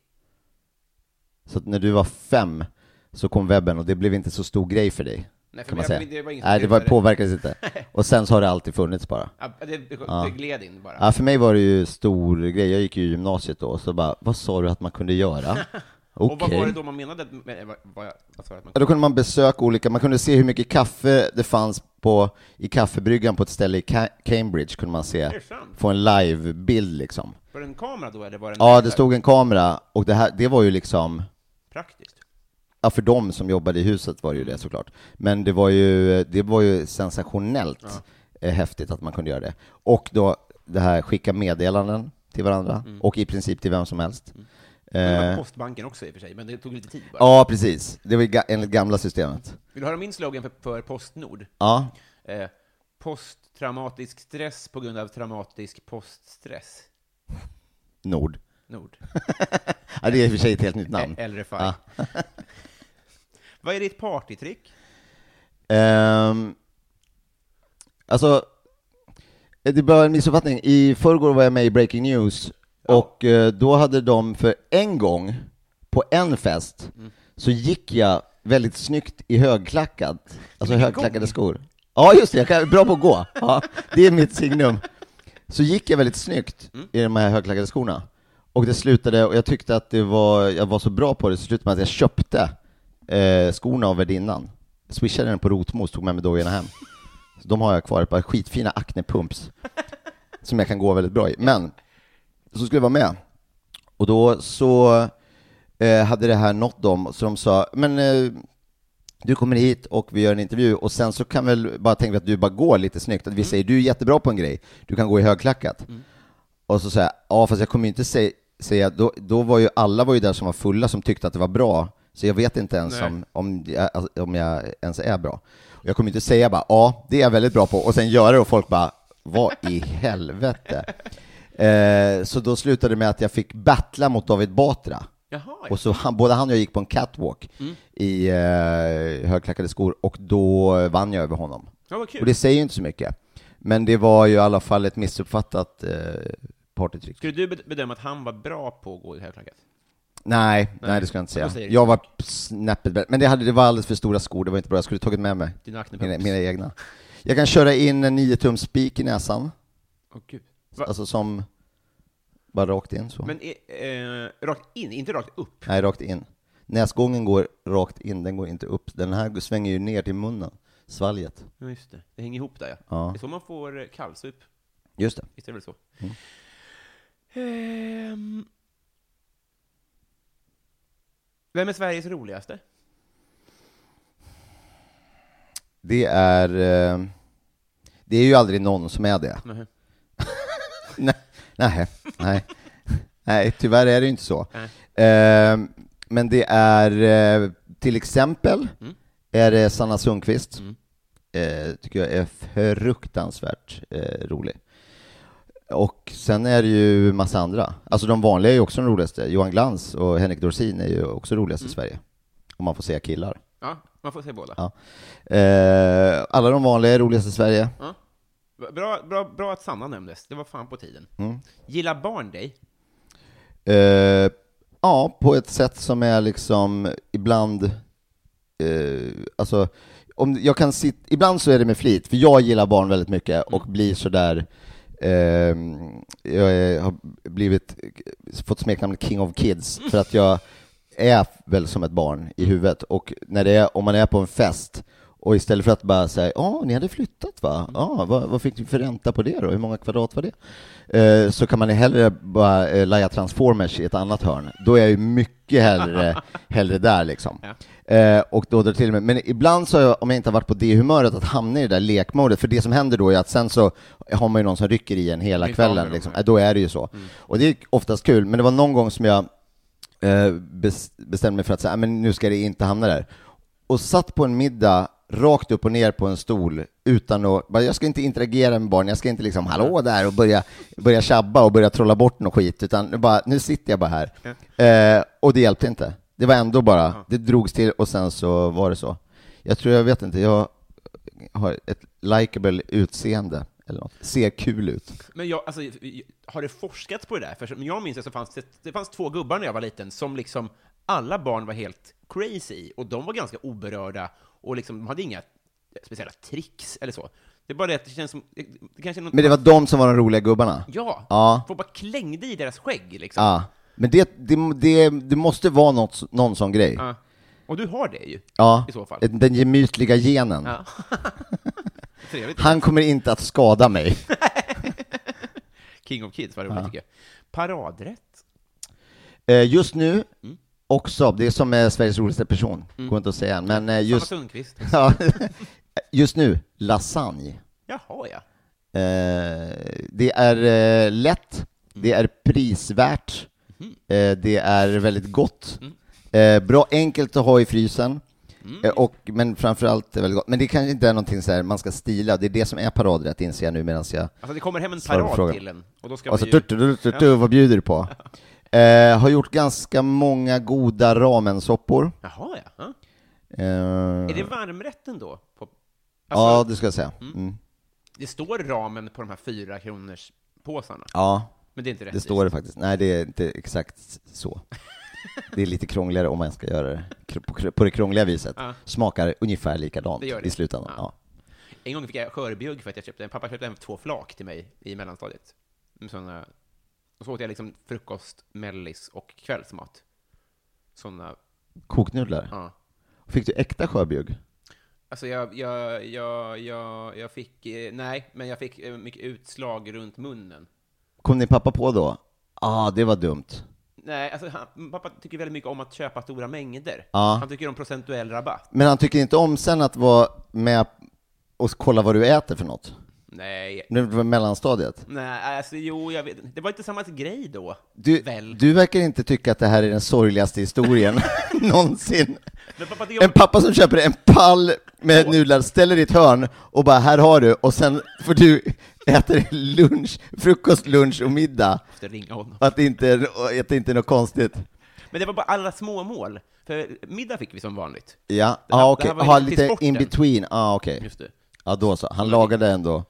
B: Så att när du var fem så kom webben och det blev inte så stor grej för dig?
A: Nej, för
B: kan
A: mig-
B: man säga.
A: det var ingen som
B: nej, det var,
A: slutade.
B: påverkades inte. Och sen så har det alltid funnits bara.
A: Ah, det, det, det gled in bara.
B: Ja, för mig var det ju stor grej. Jag gick ju i gymnasiet då, och så bara, vad sa du att man kunde göra? Okej.
A: Och vad var det då man menade? Att, med- vad, vad, jag- vad sa jag att man,
B: Ja, Då kunde man besöka olika, man kunde se hur mycket kaffe det fanns på, i kaffebryggan på ett ställe i Ca- Cambridge, kunde man se,
A: det sant? Mm.
B: få en livebild liksom.
A: var det en kamera då, eller var det en
B: Ja, det stod en kamera, och det, här, det var ju liksom,
A: praktiskt?
B: ja, för de som jobbade i huset var det ju det såklart. Men det var ju, det var ju sensationellt eh, häftigt att man kunde göra det. Och då det här skicka meddelanden till varandra,
A: Mm.
B: och i princip till vem som helst.
A: Det
B: Eh,
A: var på Postbanken också i och för sig, men det tog lite tid bara.
B: Ja, precis. Det var ju ga- enligt gamla systemet.
A: Vill du höra min slogan för, för Postnord?
B: Ja.
A: Eh, Posttraumatisk stress på grund av traumatisk poststress.
B: Nord.
A: Nord.
B: Ja, det är i och för sig ett helt nytt namn.
A: Ä- LRFI.
B: Ja.
A: Vad är ditt partytrick?
B: Ehm, alltså, eh, det var en missuppfattning. I förrgår var jag med i Breaking News, och eh, då hade de för en gång, på en fest, så gick jag väldigt snyggt i högklackat, alltså högklackade skor. Ja, just det, jag kan, bra på att gå. Ja, det är mitt signum. Så gick jag väldigt snyggt i de här högklackade skorna. Och det slutade, och jag tyckte att det var, jag var så bra på det, så slutade med att jag köpte eh, skorna av värdinnan. Swishade den på Rotmos, tog med mig dojorna hem. Så de har jag kvar, ett par skitfina Acne Pumps. som jag kan gå väldigt bra i. Men, så skulle jag vara med. Och då så eh, hade det här nått dem, så de sa, men eh, du kommer hit och vi gör en intervju och sen så kan väl bara tänka att du bara går lite snyggt, att vi säger du är jättebra på en grej, du kan gå i högklackat. Och så säger jag, ja fast jag kommer ju inte sä- säga, då, då var ju alla var ju där som var fulla som tyckte att det var bra, så jag vet inte ens om, om, jag- alltså, om jag ens är bra. Och jag kommer inte säga bara, ja det är jag väldigt bra på, och sen göra det och folk bara, vad i helvete? Eh, så då slutade det med att jag fick battla mot David Batra.
A: Jaha,
B: Och så han, både han och jag gick på en catwalk
A: Mm.
B: i eh, högklackade skor och då vann jag över honom.
A: ja, vad kul.
B: Och det säger ju inte så mycket. Men det var ju i alla fall ett missuppfattat eh, partytrick.
A: Skulle du bed- bedöma att han var bra på att gå i högklackat?
B: Nej, nej, det skulle jag inte
A: Men då
B: säga.
A: säger
B: Jag var snäppet bättre. Men det, hade, det var alldeles för stora skor, det var inte bra. Jag skulle tagit med mig
A: Dina Acne
B: mina,
A: Pumps.
B: mina egna. Jag kan köra in en 9 spik i näsan,
A: Åh, gud. Va?
B: alltså som bara rakt in så.
A: Men eh, eh, rakt in, inte rakt upp.
B: Nej, rakt in. Näsgången går rakt in, den går inte upp. Den här svänger ju ner till munnen, svalget.
A: Ja, just det. Det hänger ihop där, ja.
B: Ja.
A: Det är så man får eh, kallsup.
B: Just det.
A: Visst är det väl så?
B: Mm.
A: Ehm. Vem är Sveriges roligaste?
B: Det är... eh, Det är ju aldrig någon som är det.
A: Nähä.
B: nej, nej, nej. nej, tyvärr är det ju inte så.
A: Nej.
B: Eh, Men det är eh, till exempel är det Sanna Sundqvist. Eh, Tycker jag är fruktansvärt eh, rolig. Och sen är det ju massa andra. Alltså de vanliga är ju också de roligaste. Johan Glans och Henrik Dorsin är ju också roligast i Sverige. Om man får säga killar.
A: Ja, man får säga båda.
B: Ja. Eh, alla de vanliga är roligast i Sverige.
A: Bra, bra, bra att Sanna nämndes. Det var fan på tiden.
B: Mm.
A: Gillar barn dig?
B: Eh, ja, på ett sätt som är liksom ibland, eh, alltså, om jag kan sit, ibland så är det med flit, för jag gillar barn väldigt mycket och blir sådär, eh, jag är, har blivit, fått smeknamnet King of Kids för att jag är väl som ett barn i huvudet och när det är, om man är på en fest och istället för att bara säga ja, ni hade flyttat
A: Mm.
B: va? Ja, vad, vad fick ni för ränta på det då? Hur många kvadrat var det? Eh, så kan man ju hellre bara eh, laja Transformers i ett annat hörn. Då är jag ju mycket hellre, hellre där liksom. Eh, och då drar till med. Men ibland så, har jag, om jag inte har varit på det humöret, att hamna i det där lekmodet. För det som händer då är att sen så har man ju någon som rycker i en hela
A: Blir inte av med
B: kvällen.
A: dem, Mm.
B: Liksom.
A: nej.
B: Eh, Då är det ju så. Och det är oftast kul, men det var någon gång som jag eh, bes- bestämde mig för att säga, "Ah, men nu ska det inte hamna där. Och satt på en middag rakt upp och ner på en stol utan att, bara, jag ska inte interagera med barn, jag ska inte liksom hallå där och börja, börja tjabba och börja trolla bort något skit, utan bara, nu sitter jag bara här. Eh, och det hjälpte inte. Det var ändå bara, det drogs till och sen så var det så. Jag tror, jag vet inte, jag har ett likable utseende eller något. Ser kul ut.
A: Men jag, alltså, har det forskats på det där? För som jag minns det så fanns det, det fanns två gubbar när jag var liten som liksom alla barn var helt crazy i, och de var ganska oberörda och liksom, de hade inga speciella tricks eller så. Det är bara det att det känns som... Det, det kanske är något,
B: Men det var de som var de roliga gubbarna?
A: Ja!
B: Ja.
A: Folk bara klängde i deras skägg liksom.
B: Ja. Men det, det, det, det måste vara något, någon sån grej.
A: Ja. Och du har det ju.
B: Ja.
A: I så fall.
B: Den gemytliga genen.
A: Ja. Trevligt.
B: Han kommer inte att skada mig.
A: King of Kids var roligt tycker jag. Paradrätt?
B: Eh, Just nu,
A: Mm.
B: också, det är som eh, Sveriges roligaste person, går inte att säga än, men eh,
A: Just...
B: just,
A: Sanna Sundqvist?
B: ja, just nu, lasagne.
A: Jaha, ja.
B: Eh, det är eh, lätt,
A: Mm.
B: det är prisvärt,
A: Mhm. Mm.
B: eh, det är väldigt gott, eh, bra enkelt att ha i frysen, Eh, Och, men framförallt är det väldigt gott. Men det kanske inte är någonting så här man ska stila, det är det som är paradrätt inser jag nu medan jag...
A: Alltså det kommer hem en
B: Svara på
A: parad
B: frågan.
A: till en, och då ska
B: Och så
A: man ju...
B: tut, tut, tut, tut, vad bjuder du på? Eh, har gjort ganska många goda ramensoppor.
A: Jaha, ja. ja.
B: Eh,
A: Är det varmrätten då? På... Alltså,
B: ja,
A: det...
B: det ska jag säga. Mm.
A: står ramen på de här fyra kronors påsarna,
B: Ja,
A: men det är inte rätt.
B: det står det faktiskt. Nej, det är inte exakt så. Det är lite krångligare om man ska göra det kr- på kr- på det krångliga viset. Smakar ungefär likadant
A: Det gör det.
B: i slutändan.
A: Ja.
B: Ja.
A: En gång fick jag skörbjugg för att jag köpte, pappa köpte hem två flak till mig i mellanstadiet. Med Såna... Och så åt jag liksom frukost, mellis och kvällsmat. Såna,
B: Koknudlar.
A: ja.
B: Fick du äkta skörbjugg?
A: Alltså jag, jag, jag, jag, jag fick, eh, nej, men jag fick eh, mycket utslag runt munnen.
B: Kom din pappa på då? Ah, det var dumt.
A: Nej, alltså han, pappa tycker väldigt mycket om att köpa stora mängder.
B: Ja.
A: Han tycker om procentuell rabatt.
B: Men han tycker inte om sen att vara med och kolla vad du äter för något?
A: Nej.
B: Det var mellanstadiet.
A: Nej, alltså jo, jag vet Det var inte samma grej då.
B: Du,
A: väl?
B: du verkar inte tycka att det här är den sorgligaste historien någonsin.
A: Men pappa tycker om...
B: En pappa som köper en pall med nudlar, ställer i ett hörn och bara ”här har du” och sen får du äta din lunch, frukost, lunch och middag.
A: Måste ringa honom.
B: Och Att det inte är, och att det inte är något konstigt.
A: Men det var bara alla småmål. För middag fick vi som vanligt.
B: Ja,
A: Det här-
B: ah,
A: det
B: okej.
A: här var ju
B: Ah,
A: till
B: lite
A: sporten.
B: in between. Ah, okej.
A: Just det.
B: Ja, då så. Han lagade ändå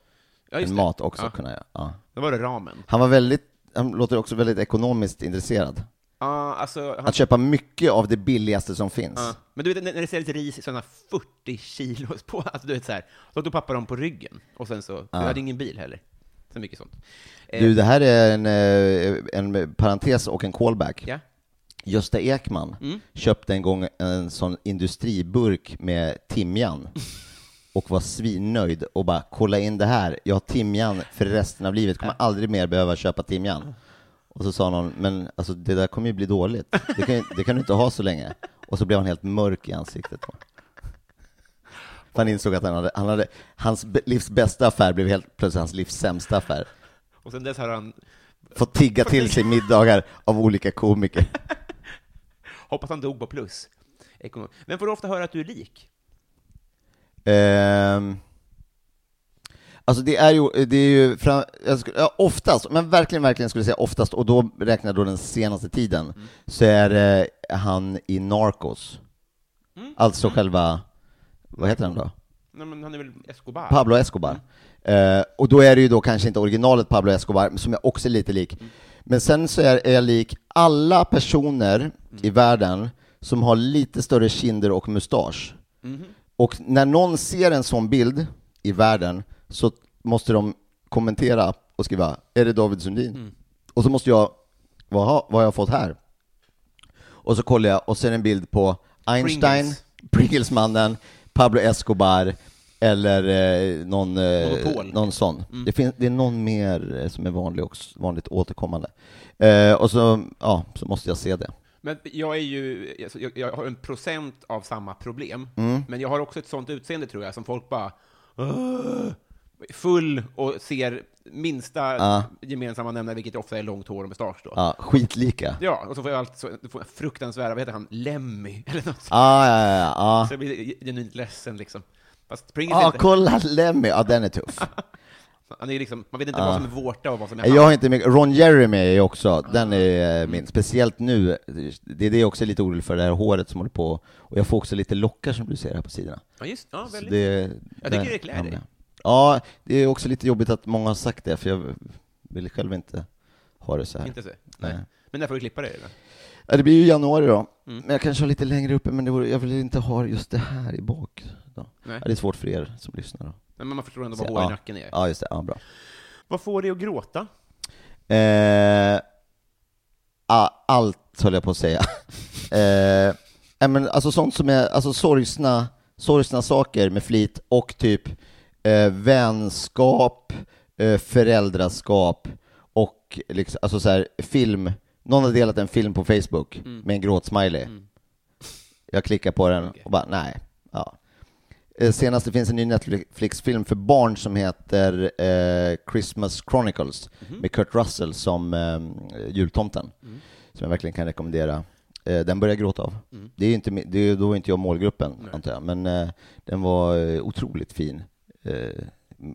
A: Ja, just
B: en
A: det.
B: mat också.
A: Ja.
B: Kunna, jag- ja.
A: Då var det ramen.
B: Han var väldigt, han låter också väldigt ekonomiskt intresserad.
A: Ja, alltså... Han...
B: Att köpa mycket av det billigaste som finns.
A: Ja. Men du vet, när när det säljs ris i sådana 40 kilos på, alltså du vet så här, då tog pappa dem på ryggen. Och sen så, jag hade ingen bil heller. Så mycket sånt. Eh,
B: Du, det här är en, eh, en parentes och en callback.
A: Ja.
B: Gösta Ekman köpte en gång en sån industriburk med timjan och var svinnöjd och bara ”kolla in det här, jag har timjan för resten av livet, kommer aldrig mer behöva köpa timjan”. Och så sa någon ”men alltså, det där kommer ju bli dåligt, det kan, ju- det kan du inte ha så länge”. Och så blev han helt mörk i ansiktet. Då. För Han insåg att han hade, han hade, hans b- livs bästa affär blev helt plötsligt hans livs sämsta affär.
A: Och sen dess har han,
B: Fått tigga till sig middagar av olika komiker.
A: hoppas han dog på plus. Ekonom. Men får du ofta höra att du är lik?
B: Ehm, alltså det är ju, det är ju fram, jag skulle, ja, oftast, men verkligen, verkligen skulle jag säga oftast, och då räknar jag då den senaste tiden, så är det han i Narcos. Alltså själva, vad heter han då?
A: Nej, men han är väl Escobar?
B: Pablo Escobar. Eh, och då är det ju då kanske inte originalet Pablo Escobar, men som jag också är lite lik. Men sen så är, är jag lik alla personer i
A: Mm.
B: världen som har lite större kinder och mustasch.
A: Mhm.
B: Och när någon ser en sån bild i världen så måste de kommentera och skriva ”Är det David Sundin?”
A: Mm.
B: Och så måste jag vad har, vad har jag fått här?” Och så kollar jag, och så är det en bild på Einstein,
A: Pringles.
B: Pringlesmannen, Pablo Escobar eller eh, någon, eh,
A: Monopol. Mm.
B: någon sån. Det, finns, det är någon mer eh, som är vanlig också, vanligt återkommande. Eh, och så, ja, så måste jag se det.
A: Men jag är ju, alltså, jag, jag har en procent av samma problem,
B: Mm.
A: men jag har också ett sånt utseende tror jag, som folk bara "Åh!" full och ser minsta gemensamma nämnare, vilket ofta är långt hår och mustasch då.
B: Ja, skitlika.
A: Ja, och så får jag allt så, då får jag fruktansvärda, vad heter han, Lemmy, eller något.
B: Ah, ja, ja, ja. Ah.
A: Så jag blir genuint ledsen liksom. Fast Pringles är
B: Ah,
A: inte,
B: kolla Lemmy! Ja, den är tuff.
A: han är ju liksom, man vet inte vad som är vårta och vad som är
B: Jag har inte mycket. Ron Jeremy är också, den är eh, min. Speciellt nu, det är det jag också är lite orolig för, det här håret som håller på. Och jag får också lite lockar som du ser här på sidorna.
A: Ja, just ja,
B: Så
A: väldigt.
B: det,
A: Jag
B: där
A: tycker det klär
B: hamnar
A: dig.
B: jag. Ja, det är också lite jobbigt att många har sagt det, för jag vill själv inte ha det så här.
A: Inte så. Nej.
B: Nej.
A: Men när får du klippa det? Eller?
B: Ja, det blir ju januari då,
A: Mm.
B: men jag kanske har lite längre uppe, men det vore, jag vill inte ha just det här i bak. Då.
A: Nej.
B: Ja, det är svårt för er som lyssnar. Då.
A: Nej, men man förstår ändå
B: Så,
A: vad hår i
B: ja.
A: nacken är.
B: Ja, just det. Ja, bra.
A: Vad får dig att gråta?
B: Eh, a- allt höll jag på att säga. eh, nej, men alltså sånt som är alltså sorgsna, sorgsna saker med flit och typ eh, vänskap, eh, föräldraskap och liksom, alltså så här, film. Någon har delat en film på Facebook med en gråtsmiley. Jag klickar på den och bara nej. Ja. Eh, Senast det finns en ny Netflix-film för barn som heter eh, Christmas Chronicles med Kurt Russell som eh, jultomten. Som jag verkligen kan rekommendera. eh, den började jag gråta av. Det är ju inte, mi- det är, då är inte jag målgruppen, antar jag. Men eh, den var eh, otroligt fin, eh,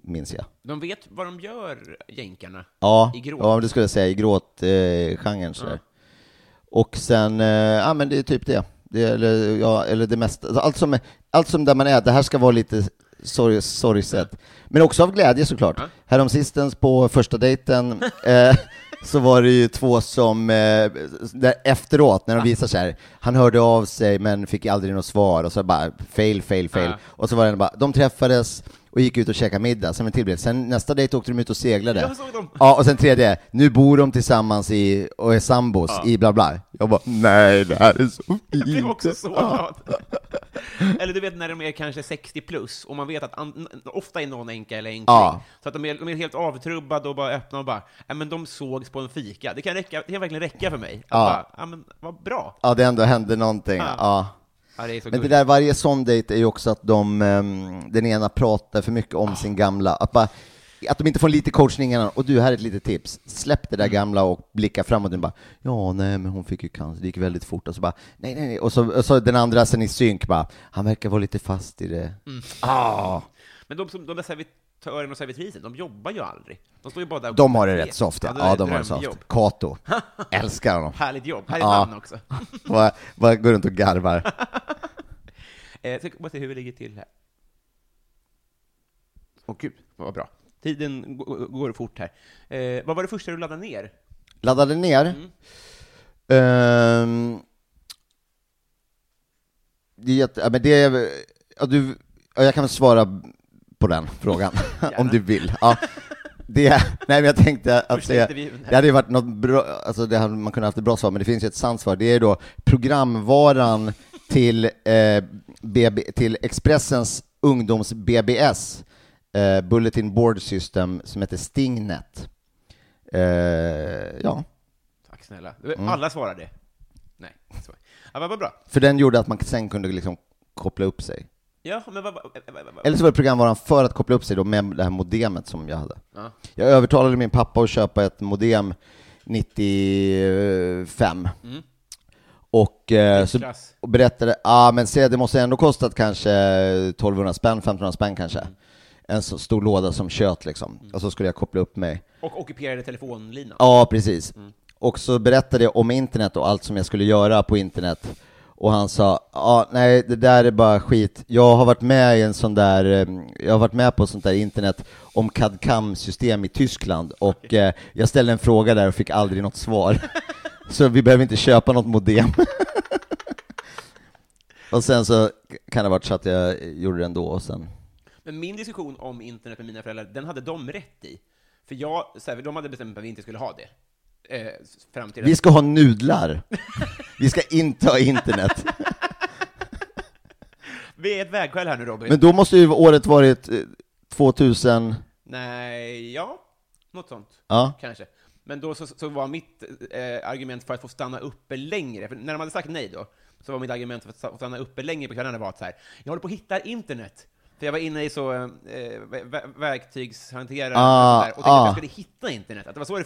B: minns jag.
A: De vet vad de gör, jänkarna.
B: Ja,
A: I gråt.
B: ja men det skulle jag säga, i gråtgenren eh, sådär. Och sen, eh, ja men det är typ det. det eller, ja, eller det mesta. Alltså, Allt som, är- allt som där man är, det här ska vara lite sorg- sorgset. Men också av glädje såklart. Häromsistens på första dejten eh, så var det ju två som, eh, där efteråt när de visar så här, han hörde av sig men fick aldrig något svar och så bara fail, fail, fail. Och så var det bara, de träffades och gick ut och käkade middag, sen en till bild. Sen nästa dejt åkte de ut och seglade.
A: Jag såg dem.
B: Ja, och sen tredje, nu bor de tillsammans i, och är sambos i bla bla. Jag bara, nej det här är så fint.
A: Jag blev också så glad. Eller du vet när de är kanske 60 plus och man vet att an- n- ofta är någon änka eller änkling.
B: Ja.
A: Så att de är, de är helt avtrubbade och bara öppna och bara, "Nej, men de sågs på en fika. Det kan, räcka, det kan verkligen räcka för mig. Att
B: Ja.
A: Bara, ja, men vad bra.
B: Ja, det ändå hände någonting.
A: Ja.
B: Ja.
A: Ja, det är så
B: Men det
A: gulligt.
B: där, varje sån dejt är ju också att de, ehm, den ena pratar för mycket om sin gamla, att, bara, att de inte får lite coachning innan. Och du, här är ett litet tips. Släpp det
A: Mm.
B: där gamla och blicka framåt. Och bara, ja, nej, men hon fick ju cancer, det gick väldigt fort. Och så bara, nej, nej, nej. Och så, och så den andra sen i synk bara, han verkar vara lite fast i det. Ah.
A: Men de, som, de där servitörerna och servitrisen, de jobbar ju aldrig. De står ju bara där och
B: De har det
A: vet.
B: rätt soft, ja.
A: det där
B: ja
A: Alltså, är
B: de har det
A: ett drömjobb.
B: soft. Kato. Älskar honom.
A: Härligt jobb, härligt
B: Ja.
A: namn också.
B: Bara, bara går runt och garvar.
A: Eh, så bara se hur vi ligger till här. Åh gud, vad bra. Tiden g- g- går fort här. Eh, vad var det första du laddade ner?
B: Laddade ner.
A: Mm.
B: Ehm, det är jätte, ja, men det är, ja, du, ja, jag kan väl svara på den frågan, om du vill. Ja. Det, nej men jag tänkte att
A: Första
B: det,
A: intervjun här.
B: det hade ju varit något bra, alltså det hade man kunnat haft ett bra svar, men det finns ju ett sant svar. Det är då programvaran till, eh, BB, till Expressens ungdoms-BBS, eh, Bulletin Board System, som heter Stingnet. Eh, ja,
A: Tack snälla. Alla svarade. Nej, så. Ja, vad vad bra.
B: för den gjorde att man sen kunde liksom koppla upp sig.
A: Ja, men vad... vad- vad- vad- vad-
B: Eller så var det programvaran för att koppla upp sig då med det här modemet som jag hade.
A: Ja.
B: Jag övertalade min pappa att köpa ett modem 95. Och, eh, så,
A: Klass.
B: och berättade, ah, men se det måste ändå kostat kanske 1200 spänn, 1500 spänn kanske. En så stor låda som kött liksom. Och så skulle jag koppla upp mig.
A: Och ockuperade telefonlinan.
B: Ja, precis. Och så berättade jag om internet och allt som jag skulle göra på internet. Och han sa, ja, nej, det där är bara skit. Jag har varit med i en sån där, eh, jag har varit med på sånt där internet om CAD-CAM-system i Tyskland och eh, jag ställde en fråga där och fick aldrig något svar. så vi behöver inte köpa något modem. och sen så kan det ha varit så att jag gjorde det ändå och sen,
A: Men min diskussion om internet med mina föräldrar, den hade de rätt i. För jag, så här, de hade bestämt att vi inte skulle ha det. Eh, s- fram till
B: vi ska ha nudlar. vi ska inte ha internet.
A: vi är ett vägskäl här nu, Robin.
B: Men då måste ju året varit eh, 2000,
A: Nej, ja, något sånt.
B: Ja.
A: Kanske. Men då så, så var mitt eh, argument för att få stanna uppe längre, för när de hade sagt nej då, så var mitt argument för att sta- stanna uppe längre på kvällarna var att så här, jag håller på att hitta internet. För jag var inne i så eh, vä- vä- verktygshanterare
B: Ah,
A: och, sånt där, och tänkte
B: ah.
A: att jag skulle hitta internet, att det var så det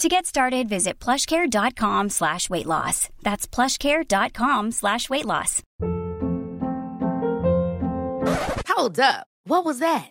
C: To get started, visit plushcare.com slash weight loss. That's plushcare.com slash weight loss.
D: Hold up. What was that?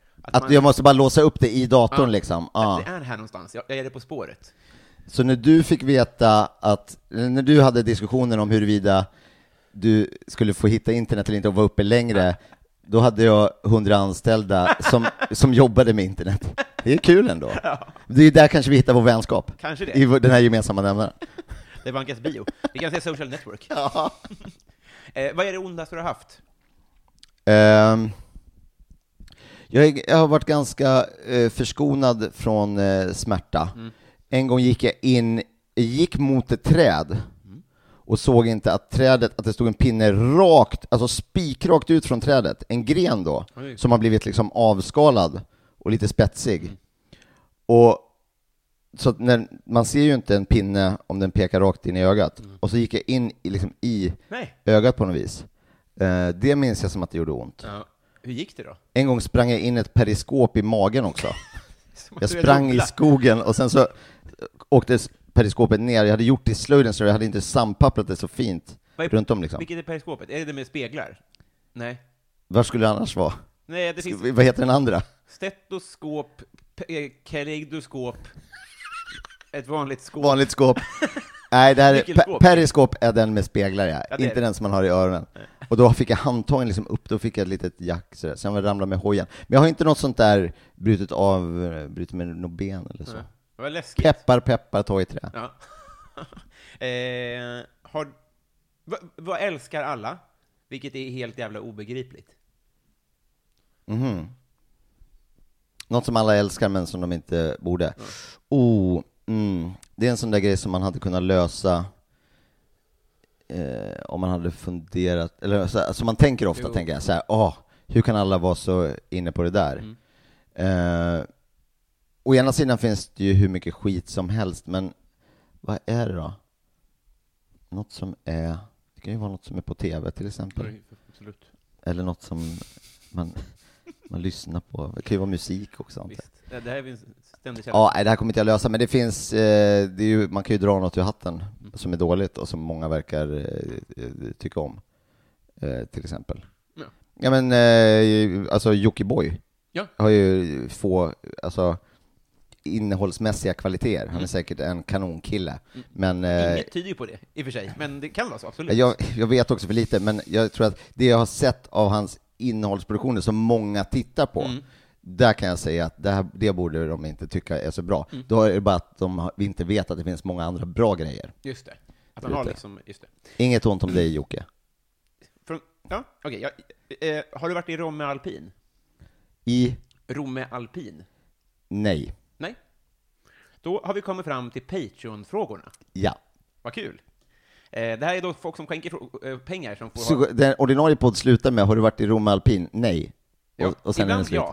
B: att jag måste bara låsa upp det i datorn liksom. Ja.
A: att det är här någonstans, jag, jag är det på spåret.
B: Så när du fick veta att, eh, när du hade diskussionen om huruvida du skulle få hitta internet eller inte och vara uppe längre, Då hade jag 100 anställda som, som jobbade med internet. Det är kul ändå. Det är där kanske vi hittar vår vänskap.
A: Kanske det.
B: I vår- den här gemensamma nämnaren.
A: Det vankas bio. Vi kan säga social network. eh, vad är det ondaste du har haft?
B: Ehm, jag, är, jag har varit ganska eh, förskonad från eh, smärta. En gång gick jag in, gick mot ett träd och såg inte att trädet, att det stod en pinne rakt, alltså spikrakt ut från trädet, en gren då, som har blivit liksom avskalad och lite spetsig. Och så att när, man ser ju inte en pinne om den pekar rakt in i ögat. Och så gick jag in i, liksom, i
A: Nej.
B: ögat på något vis. Eh, det minns jag som att det gjorde ont.
A: Hur gick det då?
B: En gång sprang jag in ett periskop i magen också.
A: Som att
B: Jag
A: du är
B: sprang i
A: dubbla.
B: skogen och sen så eh, åkte periskopet ner. Jag hade gjort det i slöjden så jag hade inte sandpapprat det så fint
A: Vad är-
B: runt om liksom.
A: Vilket är periskopet? Är det det med speglar? Nej.
B: Var skulle det annars vara?
A: Nej, det finns
B: Vad heter den andra?
A: stetoskop, pe- eh, kaleidoskop, ett vanligt skåp.
B: Vanligt skåp. Nej, det här är,
A: Vilket skåp?
B: pe- periskop är den med speglar ja.
A: Ja, det är
B: inte
A: det.
B: den som man har i öronen. Och då fick jag handtagen liksom upp, då fick jag ett litet jack sådär. Sen var jag ramlade med hojen. Men jag har inte något sånt där brutit av, eh, brutit med något ben eller så.
A: Vad läskigt.
B: Peppar, peppar, ta i trä.
A: Ja. eh, har... Va, vad älskar alla? Vilket är helt jävla obegripligt.
B: Något som alla älskar men som de inte borde. Oh, mm. Det är en sån där grej som man hade kunnat lösa eh, om man hade funderat, eller så här, som man tänker ofta, tänker jag så här, "Ah, hur kan alla vara så inne på det där? Eh, å ena sidan finns det ju hur mycket skit som helst, men vad är det då? Något som är, det kan ju vara något som är på tv till exempel.
A: Absolut.
B: Eller något som man, man lyssnar på. Det kan ju vara musik också. antar jag.
A: Visst. Det här är en ständig källa.
B: Ja, nej, det här kommer inte jag lösa, men det finns, eh, det är ju, man kan ju dra något ur hatten
A: Mm.
B: som är dåligt och som många verkar eh, eh, tycka om, eh, till exempel.
A: Ja.
B: Ja men, eh, alltså Jockiboi
A: Ja.
B: har ju få, alltså innehållsmässiga kvaliteter. Han är säkert en kanonkille, men eh,
A: Mm. Inget tyder ju på det, i och för sig, men det kan vara så, absolut.
B: jag, jag vet också för lite, men jag tror att det jag har sett av hans innehållsproduktioner som många tittar på,
A: Mm.
B: där kan jag säga att det, här, det borde de inte tycka är så bra.
A: Mm.
B: Då är det bara att de har- vi inte vet att det finns många andra bra grejer.
A: Just det. Att han har
B: Just det.
A: liksom, just det.
B: Inget ont om dig Jocke.
A: Från, ja, okej. jag- eh, har du varit i Romme Alpin?
B: I?
A: Romme Alpin?
B: Nej.
A: Nej? Då har vi kommit fram till Patreon-frågorna.
B: Ja.
A: Vad kul! Eh, det här är då folk som skänker frå- eh, pengar som får
B: Så den ordinarie podd slutar med, har du varit i Rom alpin? Nej.
A: Ja, ibland ja.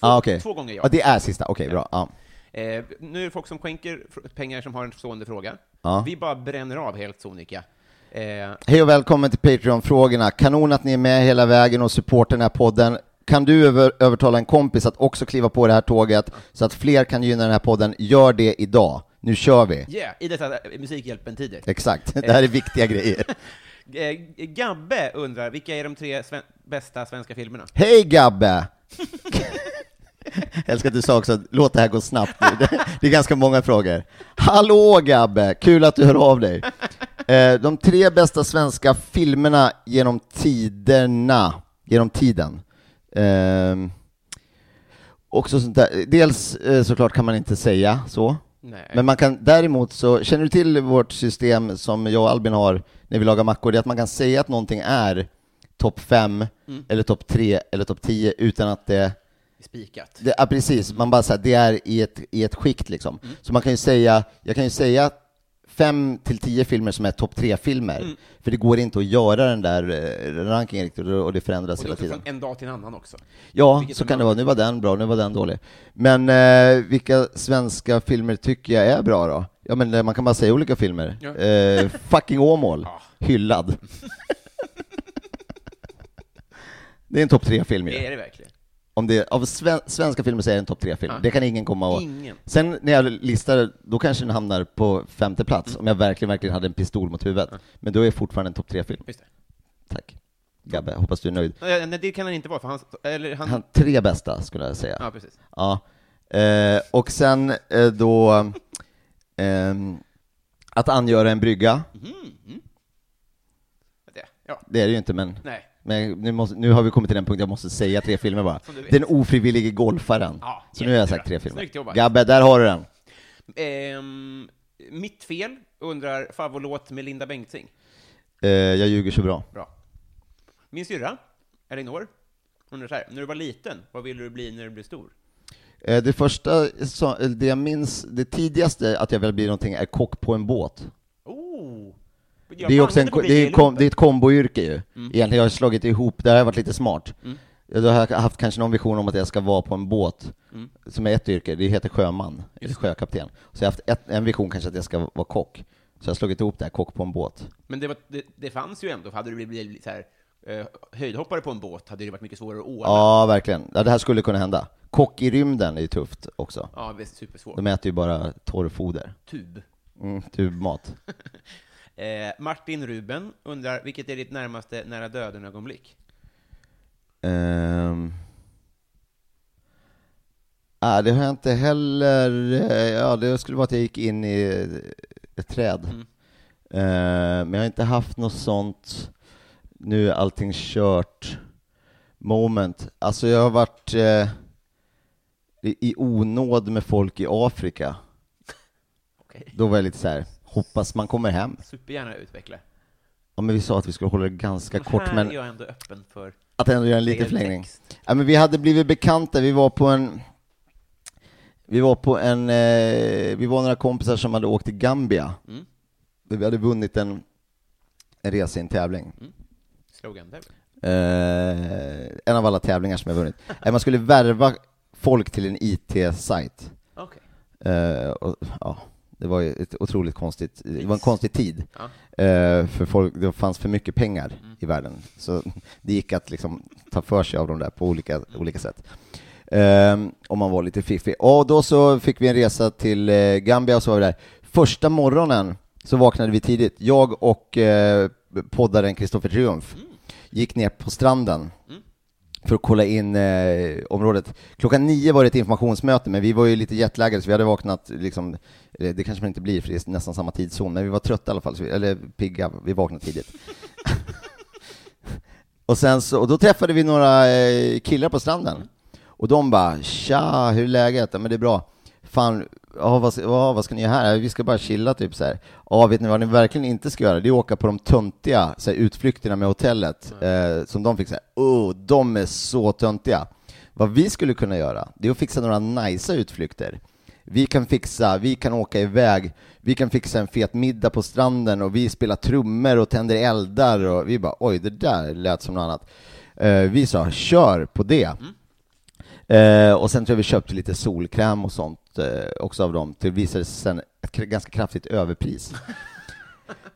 A: Två,
B: Ah, okej.
A: två gånger ja.
B: Ah, det är sista, okej bra. Ja.
A: Eh, nu är det folk som skänker fr- pengar som har en stående fråga.
B: Ja.
A: Vi bara bränner av helt sonika. Eh,
B: Hej och välkommen till Patreon-frågorna. Kanon att ni är med hela vägen och supportar den här podden. Kan du över, övertala en kompis att också kliva på det här tåget så att fler kan gynna den här podden? Gör det idag. Nu kör vi.
A: yeah, i dessa eh, Musikhjälpen-tider.
B: Exakt, det här är viktiga grejer.
A: Eh, Gabbe undrar, vilka är de tre sven- bästa svenska filmerna?
B: Hej Gabbe! Jag älskar att du sa också, låt det här gå snabbt nu. Det- Det är ganska många frågor. Hallå Gabbe, kul att du hör av dig. Eh, De tre bästa svenska filmerna genom tiderna, genom tiden. Ehm, Också sånt där. Dels eh, såklart kan man inte säga så,
A: Nej.
B: men man kan däremot så, känner du till vårt system som jag och Albin har när vi lagar mackor, det är att man kan säga att någonting är topp 5,
A: Mm.
B: eller topp 3, eller topp 10 utan att det
A: Spikat.
B: det, ja, precis. Man bara säger det är i ett, i ett skikt liksom.
A: Mm.
B: Så man kan ju säga, jag kan ju säga fem till tio filmer som är topp tre filmer.
A: Mm.
B: För det går inte att göra den där eh, rankingen riktigt och det- och det förändras
A: Och det är
B: hela
A: också
B: tiden.
A: från en dag till en annan också.
B: Ja,
A: vilket
B: så
A: är
B: kan det
A: bra.
B: vara. Nu var den bra, nu var den dålig. Men eh, vilka svenska filmer tycker jag är bra då? Ja, men eh, man kan bara säga olika filmer.
A: Ja.
B: Eh, fucking Åmål, hyllad. det är en topp tre film ju.
A: Det är det verkligen.
B: Om det, av sven, svenska filmer så är det en topp tre-film. Det kan ingen komma och...
A: Ingen.
B: Sen när jag listar, då kanske den hamnar på femte plats,
A: Mm.
B: om jag verkligen, verkligen hade en pistol mot huvudet. Men då är det fortfarande en topp tre-film.
A: Just det.
B: Tack. Gabbe, hoppas du är nöjd.
A: Nej, nej, det kan han inte vara, för han... Eller han,
B: Han, tre bästa, skulle jag säga.
A: Ja, precis.
B: Ja. Eh, och sen eh, då, ehm,
A: Mhm.
B: att angöra en brygga.
A: Det. Ja.
B: Det är det ju inte, men
A: Nej.
B: Men nu, måste, nu har vi kommit till den punkt jag måste säga tre filmer bara.
A: Som du vet.
B: Den ofrivillige golfaren.
A: Ja,
B: så nu har jag
A: jättebra.
B: sagt tre filmer.
A: Snyggt jobbat.
B: Gabbe, där har du den.
A: Ehm, mitt fel, undrar favvolåt med Linda Bengtzing.
B: Eh, jag ljuger så bra.
A: Bra. Min syrra, Elinor, undrar så här, när du var liten, vad ville du bli när du blev stor?
B: Eh, det första, så, eh, det jag minns, det tidigaste att jag vill bli någonting är kock på en båt.
A: Oh! Jag
B: det, är
A: fan
B: också en,
A: inte på
B: ko- det, är
A: Billy
B: kom,
A: Looper.
B: det är ett komboyrke ju. Egentligen har jag slagit ihop, där har jag varit lite smart. Då har jag haft kanske någon vision om att jag ska vara på en båt, som är ett yrke, det heter sjöman, eller sjökapten. Så jag har haft ett, en vision kanske att jag ska vara kock. Så jag har slagit ihop det här, kock på en båt.
A: Men det, var, det, det fanns ju ändå, för hade du blivit så här, eh, höjdhoppare på en båt hade det varit mycket svårare att ordna.
B: Ja, verkligen. Ja, det här skulle kunna hända. Kock i rymden är ju tufft också.
A: Ja, det är supersvårt.
B: De äter ju bara torrfoder.
A: Tub.
B: Mm, tubmat.
A: Eh, Martin Ruben undrar, vilket är ditt närmaste nära döden-ögonblick?
B: Ehm. Ah, det har jag inte heller... eh, Ja, det skulle vara att jag gick in i ett träd. Ehm, men jag har inte haft något sånt, nu är allting kört, moment. Alltså jag har varit eh, i i onåd med folk i Afrika.
A: Okej.
B: Då var jag lite så här, hoppas man kommer hem.
A: Supergärna utveckla.
B: Ja, men vi sa att vi skulle hålla det ganska kort,
A: här
B: men
A: är jag ändå öppen för...
B: att ändå göra en liten
A: Fel
B: förlängning.
A: text.
B: Ja, men vi hade blivit bekanta, vi var på en... Vi var på en... Eh, vi var några kompisar som hade åkt till Gambia. Vi hade vunnit en, en resa i en tävling.
A: Slogan där.
B: Eh, en av alla tävlingar som jag vunnit. Eh, Man skulle värva folk till en IT-sajt.
A: Okej.
B: Eh, och, ja, det var ju ett otroligt konstigt, det var en konstig tid.
A: Ja.
B: Eh, för folk, det fanns för mycket pengar i världen. Så det gick att liksom ta för sig av dem där på olika, olika sätt. Ehm, om man var lite fiffig. Och då så fick vi en resa till eh, Gambia och så var vi där. Första morgonen så vaknade vi tidigt. Jag och eh, poddaren Kristoffer Triumf gick ner på stranden för att kolla in eh, området. Klockan nio var det ett informationsmöte, men vi var ju lite jetlaggade så vi hade vaknat, liksom, eh, det kanske man inte blir för det är nästan samma tidszon, men vi var trötta i alla fall, så vi, eller pigga, vi vaknade tidigt. och, sen så, och då träffade vi några eh, killar på stranden, och de bara ”Tja, hur är läget?” ja, ”Men det är bra”. Fan, ja, vad, ja, vad ska ni göra här? Ja, Vi ska bara chilla typ så här. Ja, vet ni vad ni verkligen inte ska göra? Det är att åka på de töntiga så här, utflykterna med hotellet eh, som de fick så här. Oh, de är så töntiga. Vad vi skulle kunna göra, det är att fixa några nice utflykter. Vi kan fixa, vi kan åka iväg, vi kan fixa en fet middag på stranden och vi spelar trummor och tänder eldar och vi bara oj, det där lät som något annat. Eh, vi sa kör på det. Eh, och sen tror jag vi köpte lite solkräm och sånt eh, också av dem. Det visade sig sen ett kr- ganska kraftigt överpris.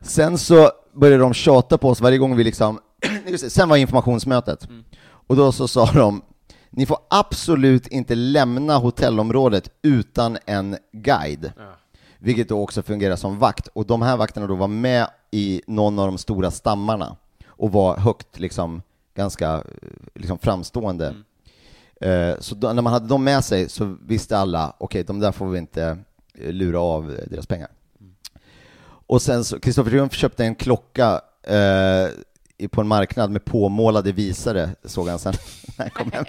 B: sen så började de tjata på oss varje gång vi liksom... Just det, sen var informationsmötet. Och då så sa de, ni får absolut inte lämna hotellområdet utan en guide. Vilket då också fungerar som vakt. Och de här vakterna då var med i någon av de stora stammarna och var högt, liksom, ganska eh, liksom framstående. Eh, Så då, när man hade dem med sig så visste alla, okej, de där får vi inte eh, lura av eh, deras pengar. Och sen så, Kristoffer Triumf köpte en klocka eh, i- på en marknad med påmålade visare, såg han sen när han kom hem.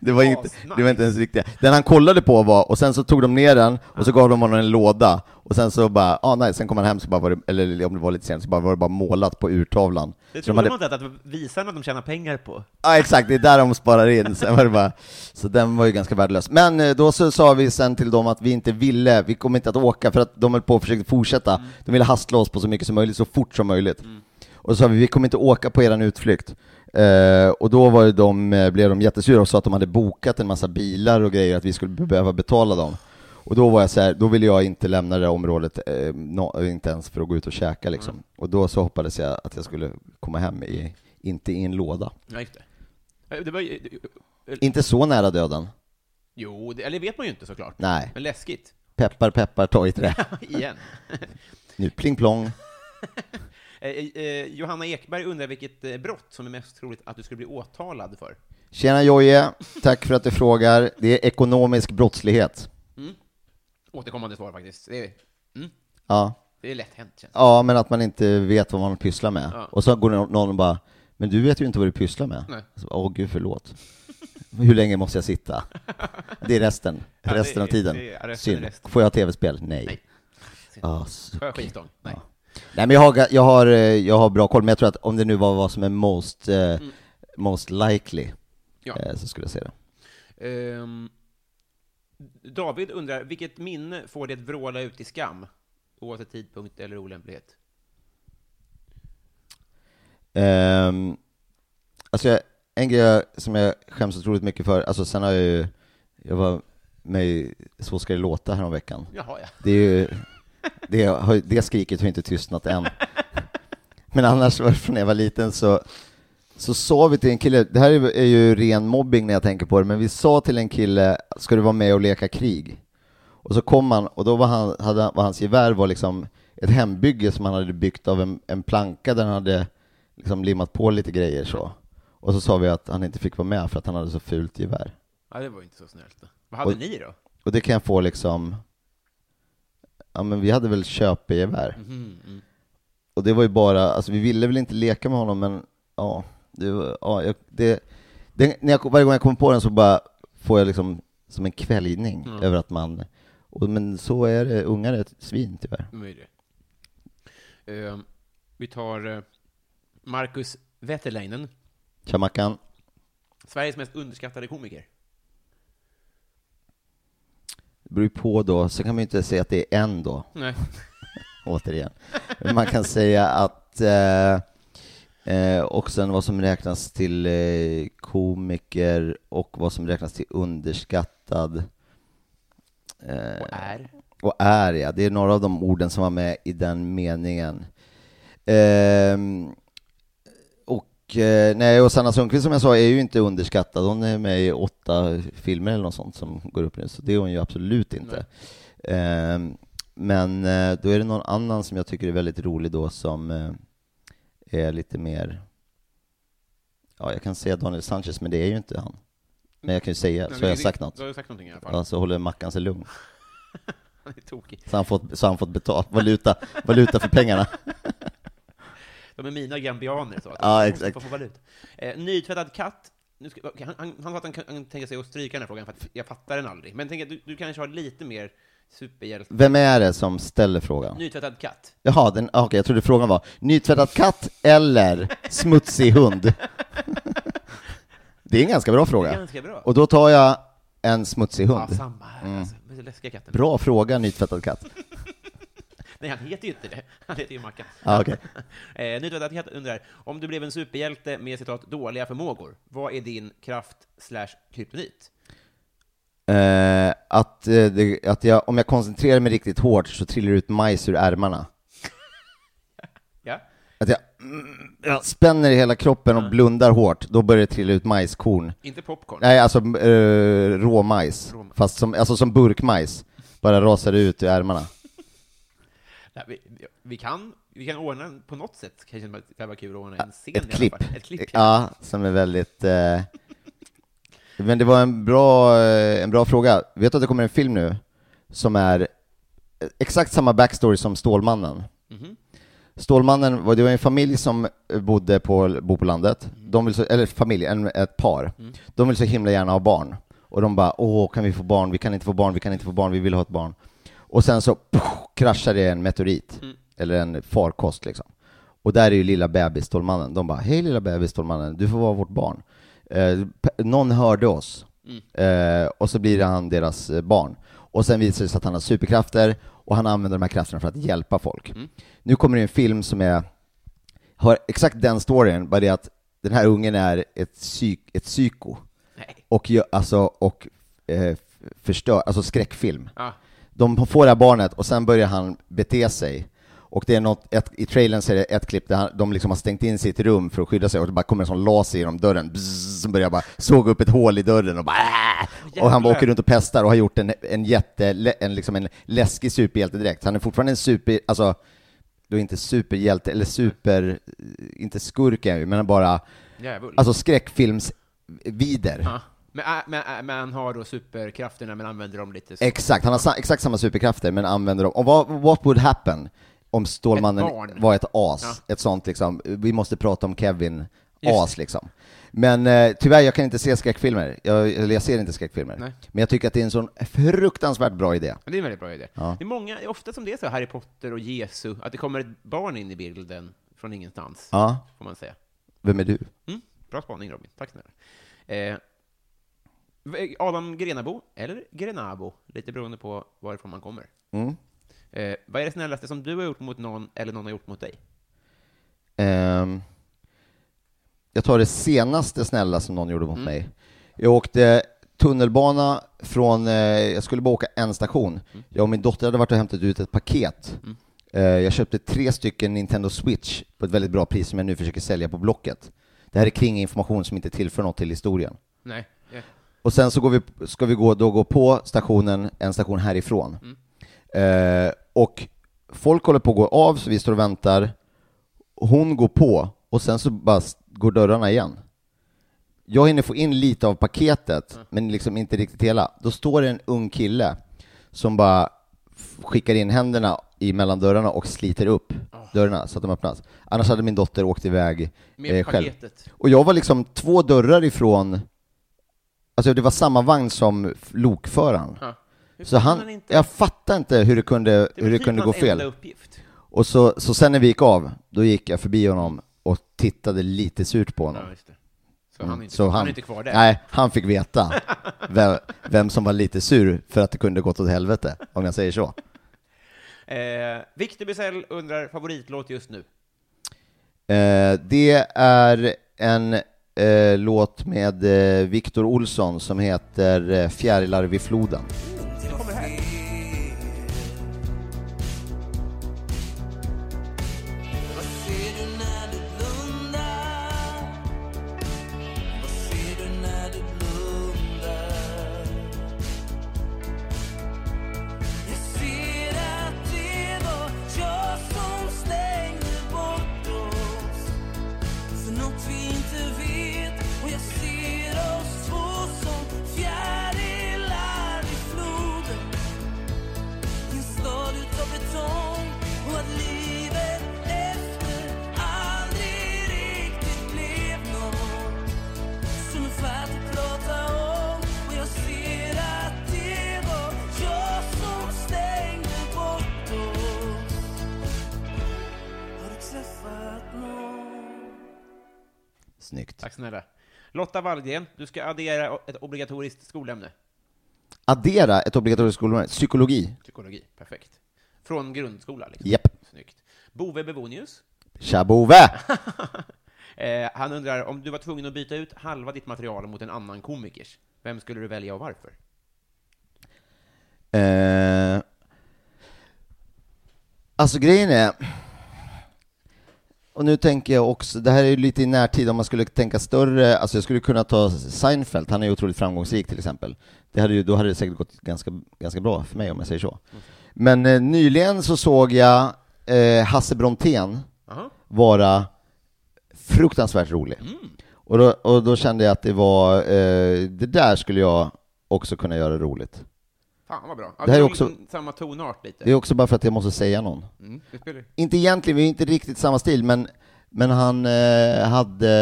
B: Det var, inte, det var inte ens riktiga. Den han kollade på var, och sen så tog de ner den, och så gav de honom en låda, och sen så bara, ah, nej, sen kom han hem, så bara var det, eller om det var lite sent, så bara var det bara målat på urtavlan.
A: Det
B: så de
A: trodde
B: hade
A: man inte att, att visarna de tjänar pengar på.
B: Ja exakt, det är där de sparar in. Sen var det bara, så den var ju ganska värdelös. Men eh, då så sa vi sen till dem att vi inte ville, vi kommer inte att åka för att de höll på och försökte fortsätta. De ville hastla oss på så mycket som möjligt, så fort som möjligt. Och så sa vi, vi kommer inte åka på eran utflykt. Eh, och då var ju de, eh, blev de jättesura och sa att de hade bokat en massa bilar och grejer, att vi skulle behöva betala dem. Och då var jag så här, då ville jag inte lämna det här området, eh, nå- inte ens för att gå ut och käka liksom. Och då så hoppades jag att jag skulle komma hem, i, inte i en låda.
A: Ja, just det. Eh, det var ju,
B: Inte så nära döden.
A: jo, det, eller vet man ju inte såklart.
B: Nej.
A: Men läskigt.
B: Peppar, peppar, ta i trä.
A: Igen.
B: Nu pling plong.
A: Eh, eh, Johanna Ekberg undrar vilket eh, brott som är mest troligt att du skulle bli åtalad för.
B: Tjena Jojje, tack för att du frågar. Det är ekonomisk brottslighet.
A: Återkommande svar faktiskt. Det är,
B: Ja.
A: mm. Det är lätt hänt känns det.
B: Ja, men att man inte vet vad man pysslar med.
A: Ja.
B: Och så går nå- någon och bara, men du vet ju inte vad du pysslar med.
A: Nej.
B: Så, Åh gud, förlåt. Hur länge måste jag sitta? Det är resten,
A: Ja,
B: resten
A: det är-
B: av tiden.
A: det är resten,
B: Synd.
A: resten.
B: Får jag tv-spel? Nej.
A: Nej.
B: Ah, suck.
A: Får jag skitång? Nej.
B: Ja. Nej, men jag har, jag, har, eh, jag har bra koll, men jag tror att om det nu var vad som är most, eh, most likely,
A: Ja.
B: eh, så skulle jag säga det.
A: Ehm, David undrar, vilket minne får det att vråla ut i skam? Oavsett tidpunkt eller olämplighet.
B: Ehm, alltså jag, en grej jag- som jag skäms otroligt mycket för, alltså sen har jag ju, jag var med i Så ska det låta häromveckan.
A: Jaha, ja.
B: Det är ju, det, har, det skriket har inte tystnat än. Men annars, var det från när jag var liten så, så sa vi till en kille, det här är, är ju ren mobbing när jag tänker på det, men vi sa till en kille, ska du vara med och leka krig? Och så kom han, och då var, han, hade, han- var hans gevär var liksom ett hembygge som han hade byggt av en, en planka där han hade liksom limmat på lite grejer så. Och så sa vi att han inte fick vara med för att han hade så fult gevär.
A: ja det var ju inte så snällt. Vad hade
B: Och-
A: ni då?
B: Och det kan jag få liksom, ja men vi hade väl köpegevär. Och det var ju bara, alltså vi ville väl inte leka med honom men ja, det, var- ja jag, det, det, när jag, varje gång jag kommer på den så bara får jag liksom som en kväljning över att man, och, men så är det, ungar är ett svin tyvärr.
A: De är ju det. Ehm, vi tar eh, Marcus Wetterleinen,
B: Tja Mackan,
A: Sveriges mest underskattade komiker.
B: det beror ju på då, sen kan man ju inte säga att det är en då,
A: Nej.
B: återigen. Men man kan säga att eh, eh, och sen vad som räknas till eh, komiker och vad som räknas till underskattad
A: Och är.
B: Eh, och är, ja. Det är några av de orden som var med i den meningen. Ehm, och, eh, nej, och Sanna Sundqvist som jag sa är ju inte underskattad. Hon är med i åtta filmer eller något sånt som går upp nu, så det är hon ju absolut inte. Ehm, men eh, då är det någon annan som jag tycker är väldigt rolig då som eh, är lite mer, ja jag kan säga Daniel Sanchez, men det är ju inte han. Men jag kan ju säga, så har jag sagt något.
A: Du har sagt någonting i alla fall.
B: Ja, så håller Mackan sig lugn.
A: Han är tokig.
B: Så han fått, så han fått betalt, valuta, valuta för pengarna.
A: De är mina gambianer. Så att
B: Ja,
A: de
B: exakt.
A: Måste få valut. Eh, nytvättad katt. Nu ska, okej, han, han, han sa att han, kan- han tänker sig att stryka den här frågan, för att jag fattar den aldrig. Men tänk, att du, du kanske har lite mer superhjälte...
B: Vem är det som ställer frågan?
A: Nytvättad katt.
B: Jaha, den, ah, okej, jag trodde frågan var nytvättad katt eller smutsig hund? Det är en ganska bra
A: Det är
B: fråga.
A: ganska bra.
B: Och då tar jag en smutsig
A: ja,
B: hund.
A: samma här. Alltså, Men det är läskiga katten.
B: Bra fråga, nytvättad katt.
A: Nej, han heter ju inte det. Han heter ju Mackan.
B: Ja, Ah, okej.
A: eh, nytvättad katt undrar, om du blev en superhjälte med citat dåliga förmågor, vad är din kraft slash kryptonit?
B: Eh, att, eh, det, att jag, om jag koncentrerar mig riktigt hårt så trillar det ut majs ur ärmarna.
A: Ja?
B: Att jag, mm, jag spänner i hela kroppen och blundar hårt, då börjar det trilla ut majskorn.
A: Inte popcorn.
B: Nej, alltså uh, råmajs.
A: Råmajs.
B: Fast som, alltså som burkmajs. Bara rasade ut ur ärmarna.
A: Nej, vi, vi, kan, vi kan ordna en- på något sätt, kanske det här var kul att ordna en scen
B: Ett
A: i alla
B: klipp.
A: fall. Ett klipp ja.
B: Ja, som är väldigt... eh, Men det var en bra, eh, en bra fråga. Vet du att det kommer en film nu som är eh, exakt samma backstory som Stålmannen?
A: Mhm.
B: Stålmannen, var- det var en familj som eh, bodde på, bo på landet,
A: Mhm.
B: de vill så, eller familj, en, ett par.
A: Mm.
B: De vill så himla gärna ha barn. Och de bara, åh, kan vi få barn? Vi kan inte få barn, vi kan inte få barn, vi vill ha ett barn. Och sen så poff, kraschar det en meteorit,
A: Mm.
B: eller en farkost liksom. Och där är ju lilla bebis Stålmannen. De bara, hej lilla bebis Stålmannen, du får vara vårt barn. Eh, pe- någon hörde oss. Eh, och så blir han deras eh, barn. Och sen visar det sig att han har superkrafter, och han använder de här krafterna för att hjälpa folk. Nu kommer det en film som är, har exakt den storyn, bara det att den här ungen är ett, psyk, ett psyko.
A: Nej.
B: Och, gör, alltså, och eh, förstör, alltså skräckfilm.
A: Ja.
B: De får det här barnet och sen börjar han bete sig. Och det är något, ett, i trailern så är det ett klipp där han, de liksom har stängt in sitt rum för att skydda sig och det bara kommer en sån laser genom dörren, bzzz, som börjar bara såga upp ett hål i dörren och bara "Äh!" Och han bara
A: Jävlar.
B: åker runt och pestar och har gjort en, en jätte, en, liksom en läskig superhjälte direkt. Han är fortfarande en super, alltså, då inte superhjälte, eller super, inte skurk är han ju, men bara,
A: Djävul.
B: alltså skräckfilmsvider.
A: Ja. Men, äh, men, äh, men han har då superkrafterna, men använder dem lite så.
B: Exakt, han har sa, exakt samma superkrafter men använder dem. Och vad, what would happen om Stålmannen
A: Ett barn.
B: var ett as, ett sånt liksom, vi måste prata om Kevin, as liksom. Men eh, tyvärr, jag kan inte se skräckfilmer, jag, eller jag ser inte skräckfilmer.
A: Nej.
B: Men jag tycker att det är en sån fruktansvärt bra idé.
A: Men det är en väldigt bra idé. Det är många, det är ofta som det är så, Harry Potter och Jesu, att det kommer ett barn in i bilden från ingenstans,
B: Ja,
A: får man säga.
B: vem är du?
A: Mm, bra spaning Robin, tack snälla. Eh, Adam Grenabo, eller Grenabo, lite beroende på varifrån man kommer.
B: Mm.
A: Eh, vad är det snällaste som du har gjort mot någon, eller någon har gjort mot dig?
B: Ehm, jag tar det senaste snälla som någon gjorde mot mig. Jag åkte tunnelbana från, eh, jag skulle bara åka en station. Jag och min dotter hade varit och hämtat ut ett paket. Eh, jag köpte tre stycken Nintendo Switch på ett väldigt bra pris som jag nu försöker sälja på Blocket. Det här är kring information som inte tillför något till historien.
A: Nej. eh,
B: Och sen så går vi, ska vi gå, då gå på stationen, en station härifrån.
A: Mm.
B: Eh, och folk håller på att gå av, så vi står och väntar. Hon går på, och sen så bara s- går dörrarna igen. Jag hinner få in lite av paketet,
A: Mm.
B: men liksom inte riktigt hela. Då står det en ung kille som bara f- skickar in händerna i mellan dörrarna och sliter upp
A: Ah.
B: dörrarna så att de öppnas. Annars hade min dotter åkt iväg
A: Med
B: eh, själv.
A: paketet.
B: Och jag var liksom två dörrar ifrån, alltså det var samma vagn som f- lokföraren.
A: Ja. Hur
B: Så
A: fan
B: han,
A: han inte-
B: jag fattar inte hur det kunde,
A: Det är
B: hur det
A: väl typ
B: kunde gå
A: hans enda
B: fel.
A: uppgift.
B: Och så, så sen när vi gick av, då gick jag förbi honom och tittade lite surt på honom.
A: Ja, just det. Så, han, är inte,
B: Mm. Så
A: han, är inte kvar där.
B: Nej, han fick veta vem, vem som var lite sur för att det kunde gått åt helvete, om jag säger så.
A: Eh, Victor Bizell undrar favoritlåt just nu.
B: Eh, det är en eh, låt med eh, Viktor Olsson som heter eh, Fjärilar vid floden. Snyggt.
A: Tack snälla. Lotta Wallgren, du ska addera ett obligatoriskt skolämne.
B: Addera ett obligatoriskt skolämne, psykologi.
A: Psykologi. Perfekt. Från grundskola, liksom.
B: Japp.
A: Snyggt. Bove Bebonius,
B: Tja Bove!
A: eh, han undrar om du var tvungen att byta ut halva ditt material mot en annan komikers, vem skulle du välja och varför?
B: Eh, alltså grejen är, och nu tänker jag också, det här är ju lite i närtid om man skulle tänka större, alltså jag skulle kunna ta Seinfeld, han är ju otroligt framgångsrik till exempel. Det hade ju, då hade det säkert gått ganska, ganska bra för mig om jag säger så. Men eh, nyligen så såg jag eh, Hasse Brontén
A: Aha.
B: vara fruktansvärt rolig. Och, då, och då kände jag att det var, eh, det där skulle jag också kunna göra roligt.
A: Fan vad bra. Ja,
B: Det här är
A: du
B: också-
A: liksom samma tonart lite.
B: Det är också bara för att jag måste säga någon.
A: Mm, det spelar ju-
B: Inte egentligen, vi är inte riktigt samma stil, men, men han eh, hade,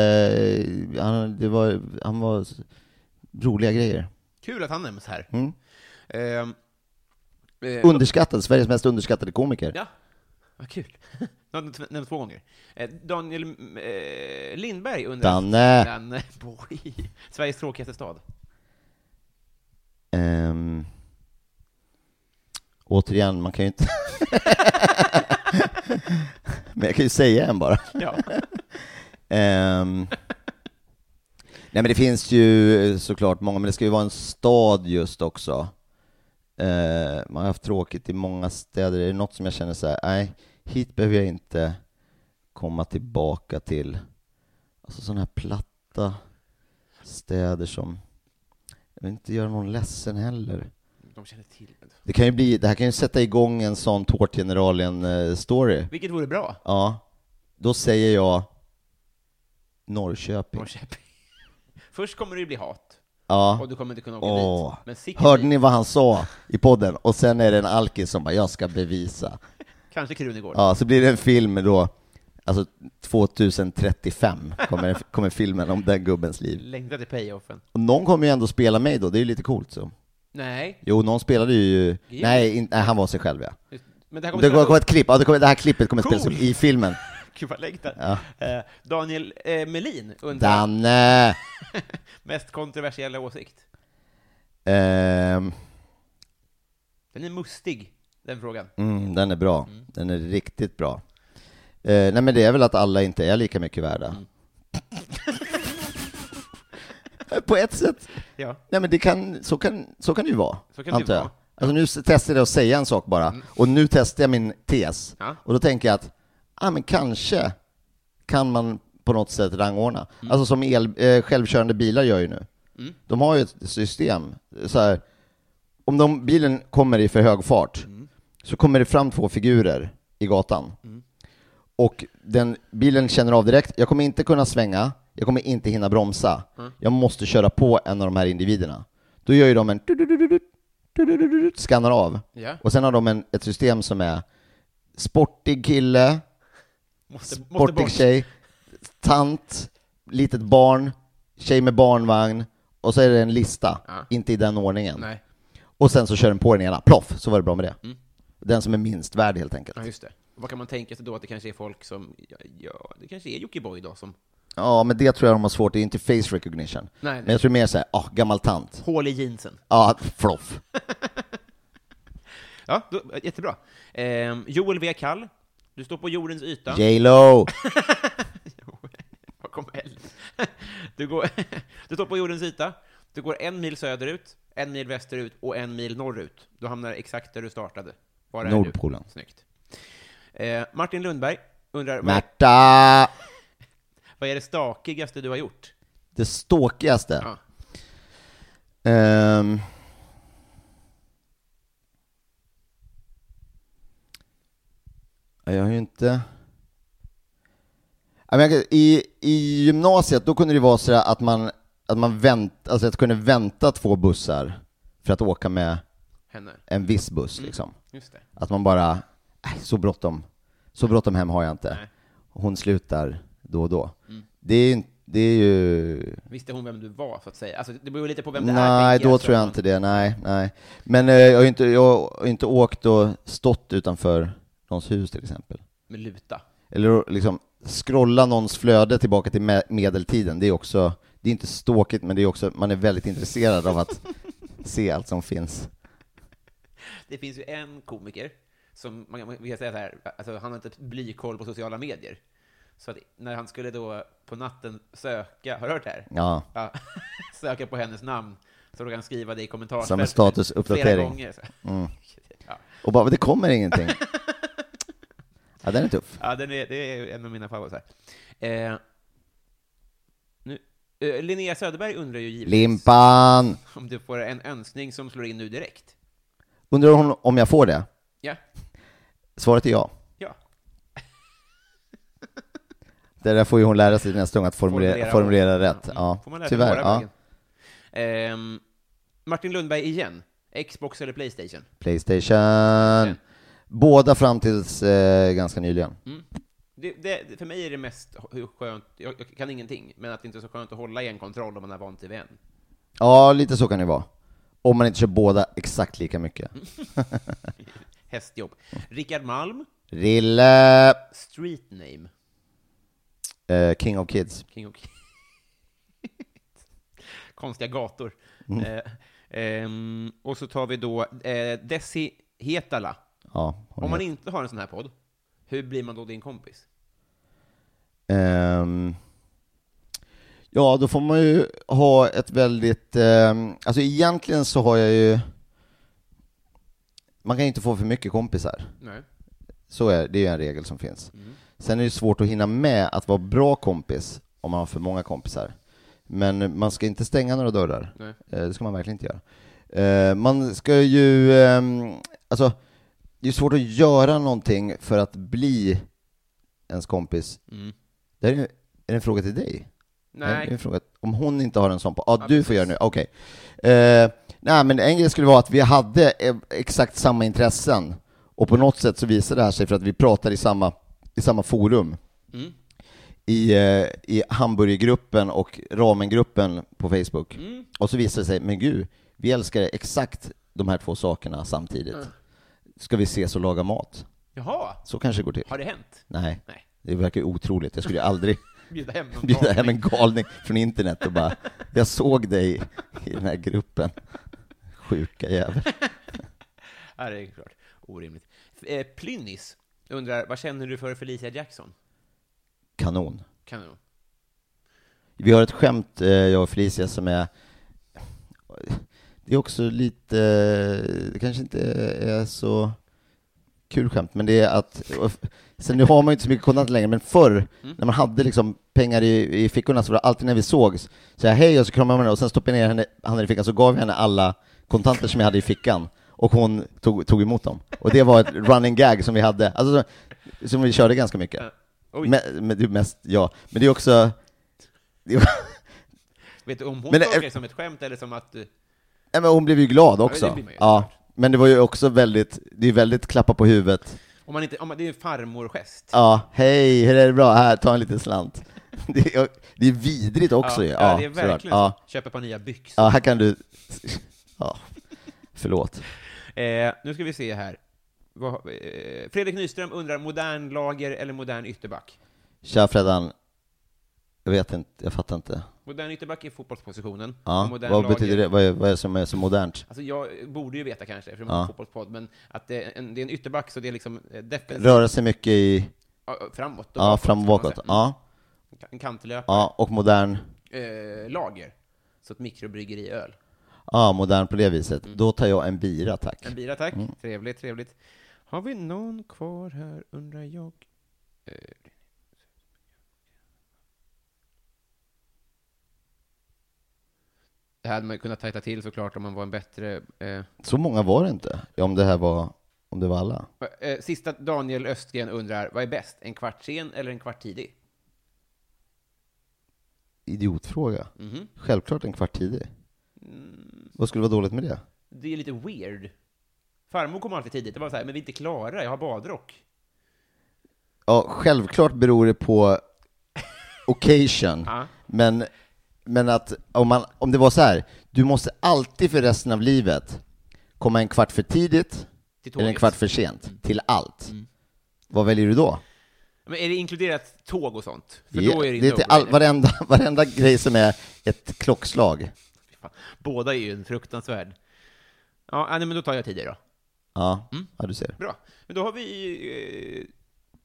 B: eh, han, det var, han var s- roliga grejer.
A: Kul att han nämns här.
B: Mm.
A: Ehm, eh,
B: Underskattad, Sveriges mest underskattade komiker.
A: Ja, vad kul. Nu har den nämnts två gånger. Eh, Daniel eh, Lindberg undrar...
B: Danne.
A: Danne Borg. Sveriges tråkigaste stad.
B: Ehm, återigen, man kan ju inte... men jag kan ju säga en bara.
A: Ja.
B: Ehm, nej men det finns ju eh, såklart många, men det ska ju vara en stad just också. Eh, man har haft tråkigt i många städer, är det något som jag känner så här, nej, hit behöver jag inte komma tillbaka till. Alltså sådana här platta städer som, jag vill inte göra någon ledsen heller.
A: De känner till det.
B: Det kan ju bli, det här kan ju sätta igång en sån Tårtgeneralen-story.
A: Vilket vore bra.
B: Ja, då säger jag Norrköping.
A: Norrköping. Först kommer det ju bli hat,
B: Ja.
A: och du kommer inte kunna åka
B: Åh.
A: dit. Men sikten
B: Hörde ni vad han sa i podden? Och sen är det en alkis som bara, jag ska bevisa.
A: Kanske Krunegård.
B: Ja, så blir det en film då, alltså 2035 kommer, kommer filmen om den gubbens liv.
A: Längtar till payoffen.
B: Och någon kommer ju ändå spela mig då, det är ju lite coolt så.
A: Nej.
B: Jo, någon spelade ju,
A: Gil.
B: nej, in, nej han var sig själv ja.
A: just- Men det här
B: Det
A: spela-
B: kommer kommer ett klipp, ja, det, kommer, det här klippet kommer spelas
A: Cool.
B: upp i filmen.
A: Gud vad jag längtar. Eh, Daniel eh, Melin undrar,
B: Danne!
A: mest kontroversiella åsikt?
B: Ehm,
A: Den är mustig, den frågan.
B: mm, den är bra, den är riktigt bra. Eh, nej men det är väl att alla inte är lika mycket värda.
A: Mm.
B: På ett sätt.
A: Ja.
B: Nej men det kan, så kan, så kan det ju vara,
A: Så kan det
B: antar
A: ju
B: jag.
A: vara. Mm.
B: Alltså nu s- testade jag att säga en sak bara, och nu testar jag min tes.
A: Ja.
B: Och då tänker jag att, ja men kanske kan man på något sätt rangordna.
A: Mm.
B: Alltså som el, eh, självkörande bilar gör ju nu. De har ju ett system, så här, om de, bilen kommer i för hög fart,
A: Mm.
B: så kommer det fram två figurer i gatan. Och den bilen känner av direkt, jag kommer inte kunna svänga, jag kommer inte hinna bromsa.
A: Mm.
B: Jag måste köra på en av de här individerna. Då gör ju de en tududududut, tududududut, skannar av.
A: Ja.
B: Och sen har de en, ett system som är sportig kille,
A: Måste, måste
B: sportig
A: bort.
B: tjej, tant, litet barn, tjej med barnvagn, och så är det en lista, inte i den ordningen.
A: Nej,
B: Och sen så kör den på den ena, ploff, så var det bra med det. Den som är minst värd helt enkelt.
A: Mm. ja, just det. Vad kan man tänka sig då att det kanske är folk som, ja, ja det kanske är Jockiboi då som
B: Ja, men det tror jag de har svårt, det är inte face recognition.
A: Nej, nej.
B: Men jag tror mer såhär, ah, gammal tant.
A: hål i jeansen.
B: Ja, floff.
A: Ja, då, jättebra. Ehm, Joel V. Kall, du står på jordens yta.
B: J.Lo!
A: Vad kom L? Du, går, du står på jordens yta, du går en mil söderut, en mil västerut och en mil norrut. Du hamnar exakt där du startade. Var är du?
B: Nordpolen.
A: Snyggt. Eh, Martin Lundberg undrar, vad är,
B: Märta!
A: vad är det stakigaste du har gjort?
B: Det ståkigaste.
A: Ja.
B: Ehm. Ja, Jag har ju inte... Ja, men jag kan- I, I gymnasiet, då kunde det vara så att man, att man vänt, alltså att kunde vänta två bussar för att åka med
A: Henne.
B: en viss buss liksom.
A: Just det.
B: Att man bara, "Äh, så bråttom, så bråttom hem har jag inte. Hon slutar då och då. Det är ju, det är ju
A: Visste hon vem du var, så att säga? Alltså, det beror lite på vem det är.
B: Nej,
A: tänker
B: då
A: så
B: tror jag
A: att man-
B: inte det. Nej, nej. Men eh, jag har ju inte, jag har inte åkt och stått utanför någons hus till exempel.
A: Med luta.
B: Eller liksom scrolla någons flöde tillbaka till me- medeltiden. Det är också, det är inte ståkigt, men det är också, man är väldigt intresserad av att se allt som finns.
A: Det finns ju en komiker som, man kan, man kan säga så här, alltså, han har inte blykoll på sociala medier. Så att när han skulle då på natten söka, har du hört det här?
B: Ja.
A: Ja, söka på hennes namn, så då kan han skriva det i kommentarsfältet.
B: Som en statusuppdatering. Mm.
A: Flera gånger. så. Ja.
B: Och bara, det kommer ingenting. Ja, den är tuff.
A: Ja, den är, det är en av mina favoriter. Eh, nu, eh, Linnea Söderberg undrar ju givetvis
B: Limpan!
A: om du får en önskning som slår in nu direkt.
B: Undrar hon om jag får det?
A: Ja,
B: Svaret är ja.
A: ja.
B: Det där får ju hon lära sig nästa gång, att formulera, formulera rätt.
A: Mm.
B: Ja,
A: Får man lära sig
B: tyvärr.
A: våra
B: Ja.
A: vägen. Ehm, Martin Lundberg igen. Xbox eller Playstation?
B: Playstation. Båda fram tills eh, ganska nyligen.
A: Mm. Det, det, för mig är det mest hur skönt, jag, jag kan ingenting, men att det inte är så skönt att hålla i en kontroll om man är vant vid en.
B: Ja, lite så kan det vara. Om man inte kör båda exakt lika mycket.
A: Mm. Hästjobb. Rickard Malm,
B: Rille,
A: street name.
B: eh, King of Kids.
A: King of Konstiga gator.
B: Mm.
A: Eh, ehm, och så tar vi då eh, Desi Hetala.
B: Ja, hon
A: Om man
B: heter-
A: inte har en sån här podd, hur blir man då din kompis?
B: Ehm, ja, då får man ju ha ett väldigt... ehm, alltså egentligen så har jag ju... Man kan ju inte få för mycket kompisar.
A: Nej.
B: Så är det, det är ju en regel som finns. Sen är det svårt att hinna med att vara bra kompis om man har för många kompisar. Men man ska inte stänga några dörrar.
A: Nej.
B: Eh, Det ska man verkligen inte göra. Eh, Man ska ju, ehm, alltså, det är svårt att göra någonting för att bli ens kompis. Det här är, är det en fråga till dig?
A: Nej.
B: Det är en fråga, om hon inte har en sån på, ja ah, du får göra nu, okej. Eh, nej men en grej skulle vara att vi hade eh, exakt samma e- intressen Och på något sätt så visar det här sig för att vi pratar i samma, i samma forum.
A: Mm.
B: I, eh, I hamburgergruppen och ramengruppen på Facebook.
A: Mm.
B: Och så visar det sig, men gud, vi älskar exakt de här två sakerna samtidigt.
A: Mm.
B: Ska vi ses och laga mat?
A: Jaha,
B: Så kanske det går till.
A: har det hänt?
B: Nej.
A: Nej.
B: Det verkar ju otroligt. Jag skulle ju aldrig
A: Bjuda hem någon
B: bjuda hem
A: galning.
B: en galning från internet och bara, jag såg dig i den här gruppen. Sjuka jävel.
A: Ja, det är klart. Orimligt. F- Eh, Plynnis undrar, vad känner du för Felicia Jackson?
B: Kanon.
A: Kanon.
B: Vi har ett skämt, eh, jag och Felicia, som är... Det är också lite... Det kanske inte är så kul skämt, men det är att... Sen nu har man ju inte så mycket kontanter längre, men förr, när man hade liksom pengar i, i fickorna, så var det alltid när vi sågs, så jag hej och så kramade man henne och sen stoppade jag ner henne, handen i fickan, så gav jag henne alla kontanter som jag hade i fickan, och hon tog, tog emot dem. Och det var ett running gag som vi hade, alltså, som vi körde ganska mycket.
A: Oj.
B: Men, men det är mest jag. Men det är också... Det var-
A: Vet du om hon
B: Men,
A: tolkar
B: eh,
A: det som ett skämt eller som att... eh,
B: Nej, men hon blev ju glad
A: Ja, det
B: också.
A: blir man ju.
B: Ja, men det var ju också väldigt, det är väldigt klappa på huvudet.
A: Om man inte, om man, det är en farmorgest.
B: Ja, hej, hur är det bra? Här, ta en liten slant. Det är, det är vidrigt också ju.
A: ja, ja, det är
B: såklart.
A: verkligen
B: ja.
A: så. Köpa ett par nya byxor.
B: ja, här kan du... Ja, förlåt.
A: Eh, nu ska vi se här. Vad, har- eh, Fredrik Nyström undrar, modern lager eller modern ytterback?
B: Tja Freddan. Jag vet inte, jag fattar inte.
A: Modern ytterback är fotbollspositionen. och
B: Ja,
A: modern
B: vad
A: lager-
B: betyder det? Vad är, vad är det som är så modernt?
A: Alltså jag borde ju veta kanske, eftersom det är en fotbollspodd, men att det är en, det är en ytterback så det är liksom eh, defensivt,
B: Röra sig mycket i...
A: ja, framåt och
B: Ja,
A: bakåt,
B: fram och
A: kan man
B: bakåt.
A: säga.
B: Ja,
A: Mm. En kantlöp,
B: ja, och modern.
A: eh, lager. Så ett mikrobryggeriöl.
B: Ja, modern på det viset. Då tar jag en bira, tack.
A: Mm. En bira tack,
B: Mm.
A: trevligt, trevligt. Har vi någon kvar här undrar jag? Eh, Det här hade man ju kunnat tajta till såklart om man var en bättre... Eh,
B: Så många var det inte, om det här var, om det var alla.
A: eh, sista Daniel Östgren undrar, vad är bäst? En kvart sen eller en kvart tidig?
B: Idiotfråga.
A: Mhm.
B: Självklart en kvart tidig.
A: Mm.
B: Vad skulle vara dåligt med det?
A: Det är lite weird. Farmor kom alltid tidigt. Det var så här, men vi är inte klara, jag har badrock.
B: Ja, självklart beror det på occasion.
A: Ja.
B: men, men att om, man, om det var så här, du måste alltid för resten av livet komma en kvart för tidigt
A: Till
B: eller en
A: tåget.
B: kvart för sent
A: Mm.
B: till allt. Vad väljer du då?
A: Men är det inkluderat tåg och sånt? För
B: Ja,
A: då är det,
B: det är till all, varenda, varenda grej som är ett klockslag.
A: Fan, Båda är ju en fruktansvärd. Ja, nej, men då tar jag tidigare då.
B: Ja,
A: Mm.
B: ja du ser.
A: Bra. Men då har vi eh,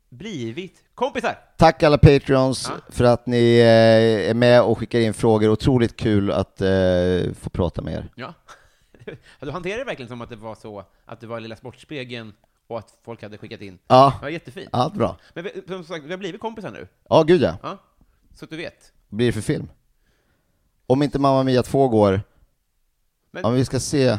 A: blivit kompisar.
B: Tack alla Patreons för att ni eh, är med och skickar in frågor. Otroligt kul att eh, få prata med er.
A: Ja. Du hanterade det verkligen som att det var så att det var Lilla Sportspegeln och att folk hade skickat in.
B: Ja.
A: Ja, jättefint.
B: Allt bra.
A: Men vi, som sagt, vi har blivit kompisar nu.
B: Ja, gud ja.
A: Ja. Så att du vet.
B: Vad blir det för film? Om inte Mamma Mia 2 går,
A: Men-
B: ja, men vi ska se.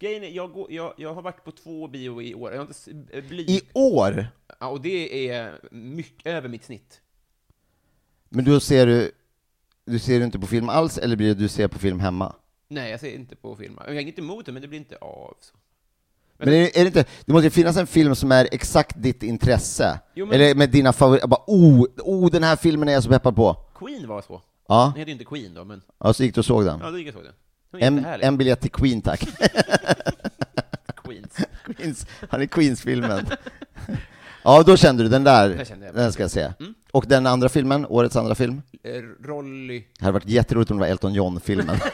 A: Grejen är, jag, går, jag, jag har varit på två bio i år. Jag har inte s- eh, bly...
B: I år?
A: Ja, och det är mycket över mitt snitt.
B: Men då ser du, du ser inte på film alls, eller blir det du ser på film hemma?
A: Nej, jag ser inte på filmer. Jag är inte emot det, men det blir inte av. Så.
B: Men är, det- är det inte, det måste ju finnas en film som är exakt ditt intresse.
A: Jo, men-
B: Eller med dina favoriter, bara oh, oh, den här filmen är jag så peppad på.
A: Queen var så.
B: Ja,
A: Den heter ju inte Queen då, men
B: ja så gick du och såg den.
A: ja, då gick jag och såg den. Den är
B: En,
A: jättehärlig.
B: en biljett till Queen tack.
A: Queens.
B: Queens, han är Queens-filmen. Ja, då kände du den där,
A: Den kände jag. Mm.
B: den ska jag se. Och den andra filmen, årets andra film?
A: Eh, Rolly.
B: Det hade varit jätteroligt om det var Elton John-filmen.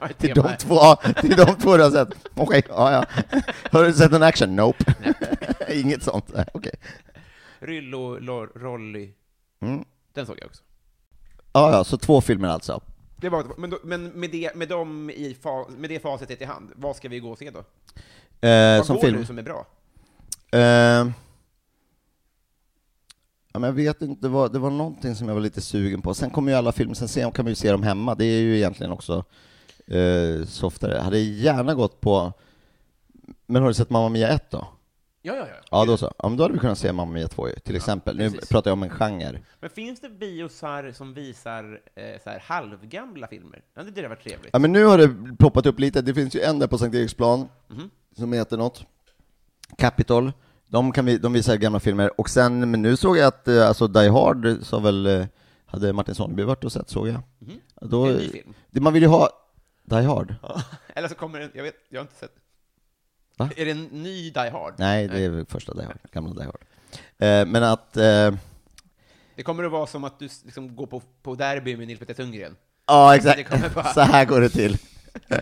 A: Ja, ett
B: till,
A: tema
B: de
A: här.
B: två, ja, till de två du har sett? Okej, ja, ja. Har du sett en action? Nope. Inget sånt. Nej, Okej.
A: Ryllo, Lor- Rolly.
B: Mm.
A: Den såg jag också.
B: Ja, ja, så två filmer alltså.
A: Det var, men då, men med, det, med, dem i fa, med det facitet i hand, vad ska vi gå och se då?
B: Eh,
A: Vad
B: som
A: går
B: film.
A: nu som är bra?
B: Eh, ja, men jag vet inte, vad, det var någonting som jag var lite sugen på. Sen kommer ju alla filmer, sen ser, kan man ju se dem hemma. Det är ju egentligen också eh, softare. Jag hade gärna gått på... Men har du sett Mamma Mia 1 då?
A: Ja, ja, ja.
B: Ja, då så. Ja, men då hade vi kunnat se Mamma Mia 2 ju, till exempel. Nu
A: precis.
B: pratar jag om en genre.
A: Men finns det biosar som visar eh, så här, halvgamla filmer? Ja, det hade varit trevligt.
B: Ja,
A: Mhm.
B: men nu har det ploppat upp lite. Det finns ju en där på Sankt Eriksplan som heter något. Capital, de, kan vi, de visar gamla filmer. Och sen, men nu såg jag att eh, alltså Die Hard sa väl, eh, hade Martin Sonneby varit och sett såg jag. Då,
A: Mhm. En ny film.
B: det- man vill ju ha Die Hard.
A: Eller så kommer det, jag vet, jag har inte sett.
B: Va?
A: Är det en ny Die Hard?
B: Nej, det är väl första Die Hard, gamla Die Hard. Eh, men att, eh,
A: Det kommer att vara som att du s- liksom går på, på derby med Nils Petter Sundgren.
B: ja
A: Det kommer
B: exakt,
A: bara-
B: så här går det till.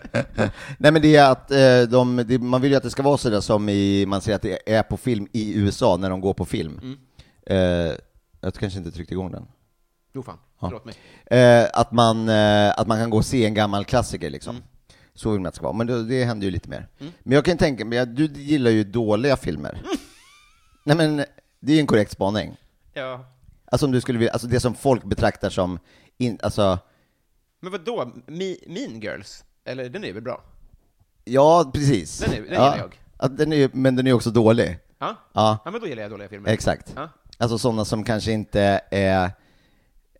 B: Nej men det är att eh, de, det, man vill ju att det ska vara sådär som i, man ser att det är på film i USA när de går på film.
A: Mm.
B: Eh, jag kanske inte tryckte igång den.
A: Jo fan, förlåt mig.
B: Eh, att, man, eh, att man kan gå och se en gammal klassiker liksom.
A: Mm.
B: Så vill man att det ska vara, men det, det händer ju lite mer. Men jag kan ju tänka mig, du gillar ju dåliga filmer. Nej men, det är ju en korrekt spaning.
A: Ja.
B: Alltså om du skulle vilja, alltså det som folk betraktar som, in, alltså,
A: Men vad då? mean Girls? Eller den är väl bra?
B: ja precis.
A: Den är- den
B: ja.
A: gillar jag.
B: Att den är, men den är också dålig.
A: Ja?
B: Ja.
A: ja, men då gillar jag dåliga filmer.
B: Exakt.
A: Ja.
B: Alltså sådana som kanske inte är, eh,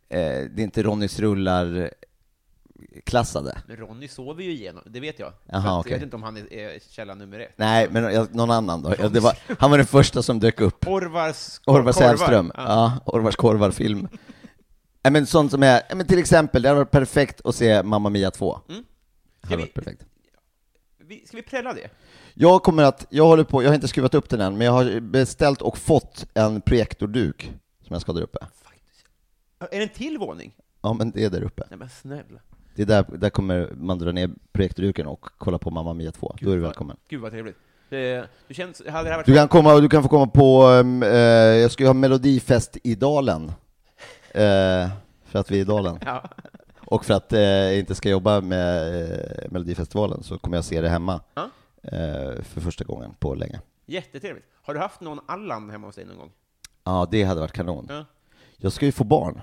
B: det är inte Ronnys rullar-klassade.
A: Men Ronny sover ju igenom, det vet jag.
B: Jaha,
A: Så att
B: okej.
A: Jag vet inte om han är, är källa nummer ett.
B: Nej, men jag, någon annan då. Ja, Det var, han var den första som dök upp.
A: Orvars
B: Orvar
A: korvar.
B: Sällström.
A: Ja.
B: Ja, Orvars korvar-film. Nej, men sånt som är, ja, men till exempel, det hade varit perfekt att se Mamma Mia 2. Det
A: Ska
B: hade
A: Mm. vi-
B: varit perfekt.
A: Vi- Ska vi prälla det?
B: Jag kommer att, jag håller på, jag har inte skruvat upp den än, men jag har beställt och fått en projektorduk som jag ska ha där uppe.
A: Är det en till våning?
B: Ja, men det är där uppe.
A: Nej men snälla.
B: Det är där, där kommer man dra ner projektorduken och kolla på Mamma Mia 2. Då är du
A: vad-
B: välkommen.
A: Gud vad trevligt. Det, du känns, hade det här varit...
B: Du kan komma, du kan få komma på, ehm, eh, jag ska ju ha melodifest i Dalen. Eh, för att vi är i Dalen.
A: Ja.
B: Och för att eh, jag inte ska jobba med eh, Melodifestivalen så kommer jag se det hemma.
A: Ja.
B: Eh, för första gången på länge.
A: Jättetrevligt. Har du haft någon Allan hemma hos dig någon gång?
B: Ja, det hade varit kanon.
A: Ja.
B: Jag ska ju få barn.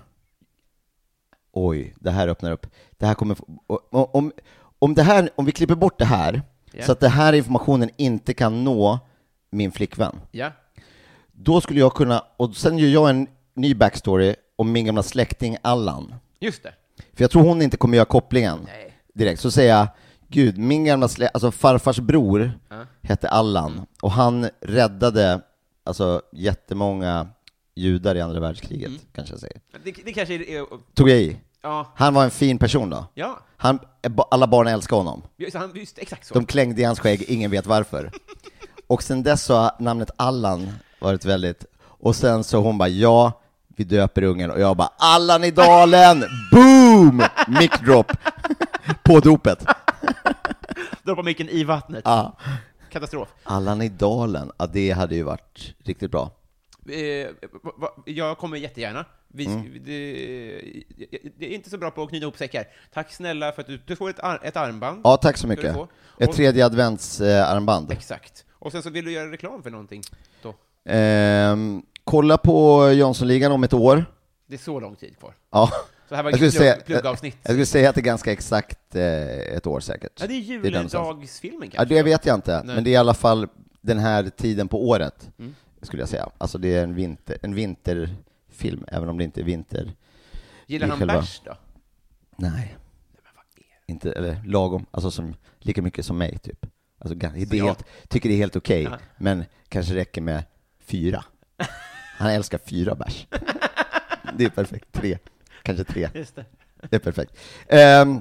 B: Oj, det här öppnar upp. Det här kommer... få- Om, om, om, det här, om vi klipper bort det här,
A: Ja.
B: så att den här informationen inte kan nå min flickvän,
A: Ja.
B: då skulle jag kunna... Och sen gör jag en ny backstory om min gamla släkting Allan.
A: Just det.
B: För jag tror hon inte kommer göra kopplingen direkt. Så säger jag, gud, min gamla slä, alltså farfars bror hette Allan och han räddade alltså jättemånga judar i andra världskriget, kanske jag säger.
A: Det, det kanske är... är-
B: Tog jag i?
A: Ja.
B: Han var en fin person då.
A: Ja.
B: Han, alla barn älskade honom.
A: Just, han, just exakt så.
B: De klängde i hans skägg, ingen vet varför. Och sen dess så har namnet Allan varit väldigt... Och sen så hon bara ja, vi döper ungen och jag bara Allan i dalen! Boom! Mic drop! På dopet.
A: Droppa micken i vattnet.
B: Ja.
A: Katastrof.
B: Allan i dalen, ja det hade ju varit riktigt bra.
A: Eh, va, va, jag kommer jättegärna. Vi,
B: Mm.
A: det, jag- jag är inte så bra på att knyta ihop säckar. Tack snälla för att du, du får ett, ar, ett armband.
B: Ja, tack så
A: Ska
B: mycket.
A: du få?
B: Ett
A: Och-
B: tredje adventsarmband.
A: Exakt. Och sen så vill du göra reklam för någonting. Då.
B: Ehm, kolla på Jönssonligan om ett år.
A: Det är så lång tid kvar.
B: Ja.
A: Så här var
B: Jag skulle
A: plugg-
B: säga-
A: pluggavsnitt.
B: Jag skulle säga att det är ganska exakt eh, ett år säkert.
A: Ja, det är
B: där någonstans.
A: juldagsfilmen
B: Ja,
A: kanske?
B: det vet jag inte,
A: Nej. Mm.
B: men det är i alla fall den här tiden på året, skulle jag säga. Alltså det är en, vinter, en vinterfilm, även om det inte är vinter.
A: Gillar
B: i
A: han
B: själva-
A: bärs då?
B: Nej. Inte, eller lagom, alltså som, lika mycket som mig typ. Alltså, gan- det är
A: jag-
B: helt, tycker det är helt okej,
A: Ja.
B: men kanske räcker med fyra. Han älskar fyra bärs. Det är perfekt, tre, kanske tre.
A: Just det.
B: Det är perfekt. Ehm,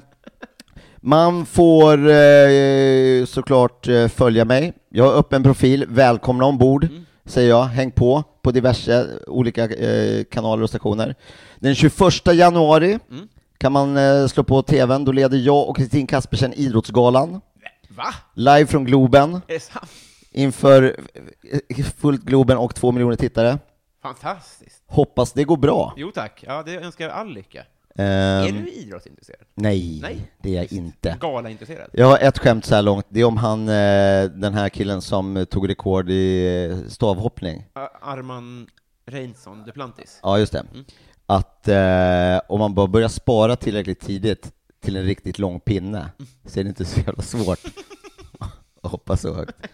B: man får eh, såklart eh, följa mig. Jag har öppen profil. Välkomna ombord,
A: Mm.
B: säger jag. Häng på på diverse olika eh, kanaler och stationer. Den 21 januari
A: Mm.
B: kan man eh, slå på TVn. Då leder jag och Kristin Kaspersen Idrottsgalan.
A: Va?
B: Live från Globen
A: Är det sant?
B: inför eh, fullt Globen och två miljoner tittare.
A: Fantastiskt.
B: Hoppas det går bra.
A: Jo tack. Ja, det önskar jag all lycka.
B: Ehm,
A: Är du idrottsintresserad?
B: nej,
A: Nej.
B: det är jag inte.
A: Galaintresserad?
B: Jag har ett skämt så här långt, det är om han, eh, den här killen som tog rekord i eh, stavhoppning.
A: Ja, Arman Reinsson Duplantis?
B: Ja, just det. Att eh, om man bara börjar spara tillräckligt tidigt till en riktigt lång pinne så är det inte så jävla svårt att hoppa så högt.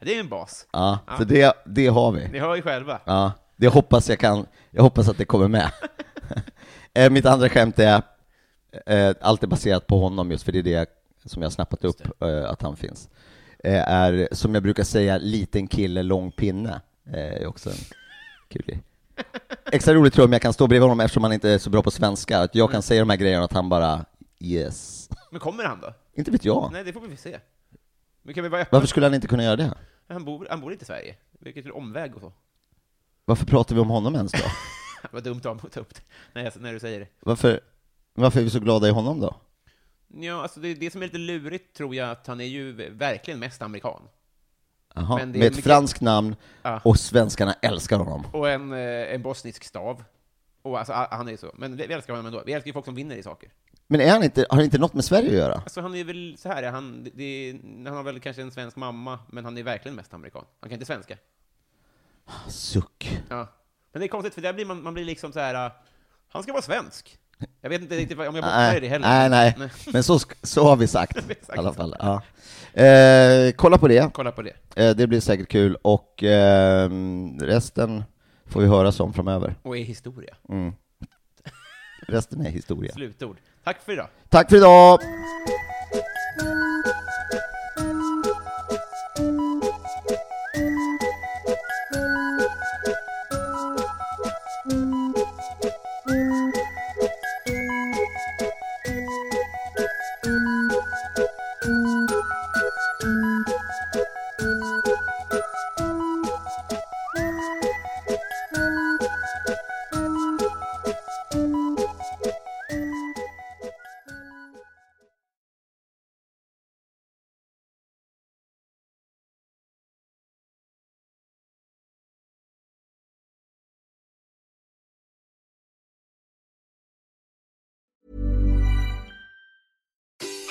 A: Det är en bas.
B: Ja, så det, det har vi.
A: Ni hör ju själva.
B: Ja, det hoppas jag kan, jag hoppas att det kommer med. Eh, Mitt andra skämt är, eh, allt är baserat på honom just för det är det som jag har snappat upp, eh, att han finns. eh, är, som jag brukar säga, liten kille, lång pinne. Eh, är också en kul grej. Extra roligt tror jag om jag kan stå bredvid honom eftersom han inte är så bra på svenska, att jag kan säga de här grejerna och att han bara yes.
A: Men kommer han då?
B: Inte vet jag.
A: Nej, det får vi väl se. Men kan vi vara öppna?
B: Varför skulle han inte kunna göra det?
A: Han bor, han bor inte i Sverige, vilket är omväg och så.
B: Varför pratar vi om honom ens då?
A: Vad dumt av mig att ta upp det när, jag, när du säger det.
B: Varför, varför är vi så glada i honom då?
A: Ja, alltså det, det som är lite lurigt tror jag att han är ju verkligen mest amerikan.
B: Jaha,
A: Men det är
B: med ett
A: mycket-
B: franskt namn
A: Ja.
B: och svenskarna älskar honom.
A: Och en, eh, en bosnisk stav. Och alltså, a- han är ju så. Men vi vi älskar honom ändå. Vi älskar ju folk som vinner i saker.
B: Men är han inte, har det inte något med Sverige att göra?
A: Alltså han är väl så här, han, det- det, han har väl kanske en svensk mamma, men han är verkligen mest amerikan. Han kan inte svenska.
B: Suck.
A: Ja. Men det är konstigt, för där blir man, man blir liksom så här, äh, han ska vara svensk. Jag vet inte riktigt vad- om jag bottnar i
B: Nej,
A: det heller.
B: nej, nej.
A: Nej.
B: men så, sk- så har vi sagt i
A: sagt
B: alla
A: så.
B: fall. Ja. Eh, kolla på det,
A: Kolla på det.
B: eh, det blir säkert kul och ehm, resten får vi höra som framöver.
A: Och är historia.
B: Mm. Resten är historia.
A: Slutord. Tack för idag.
B: Tack för idag!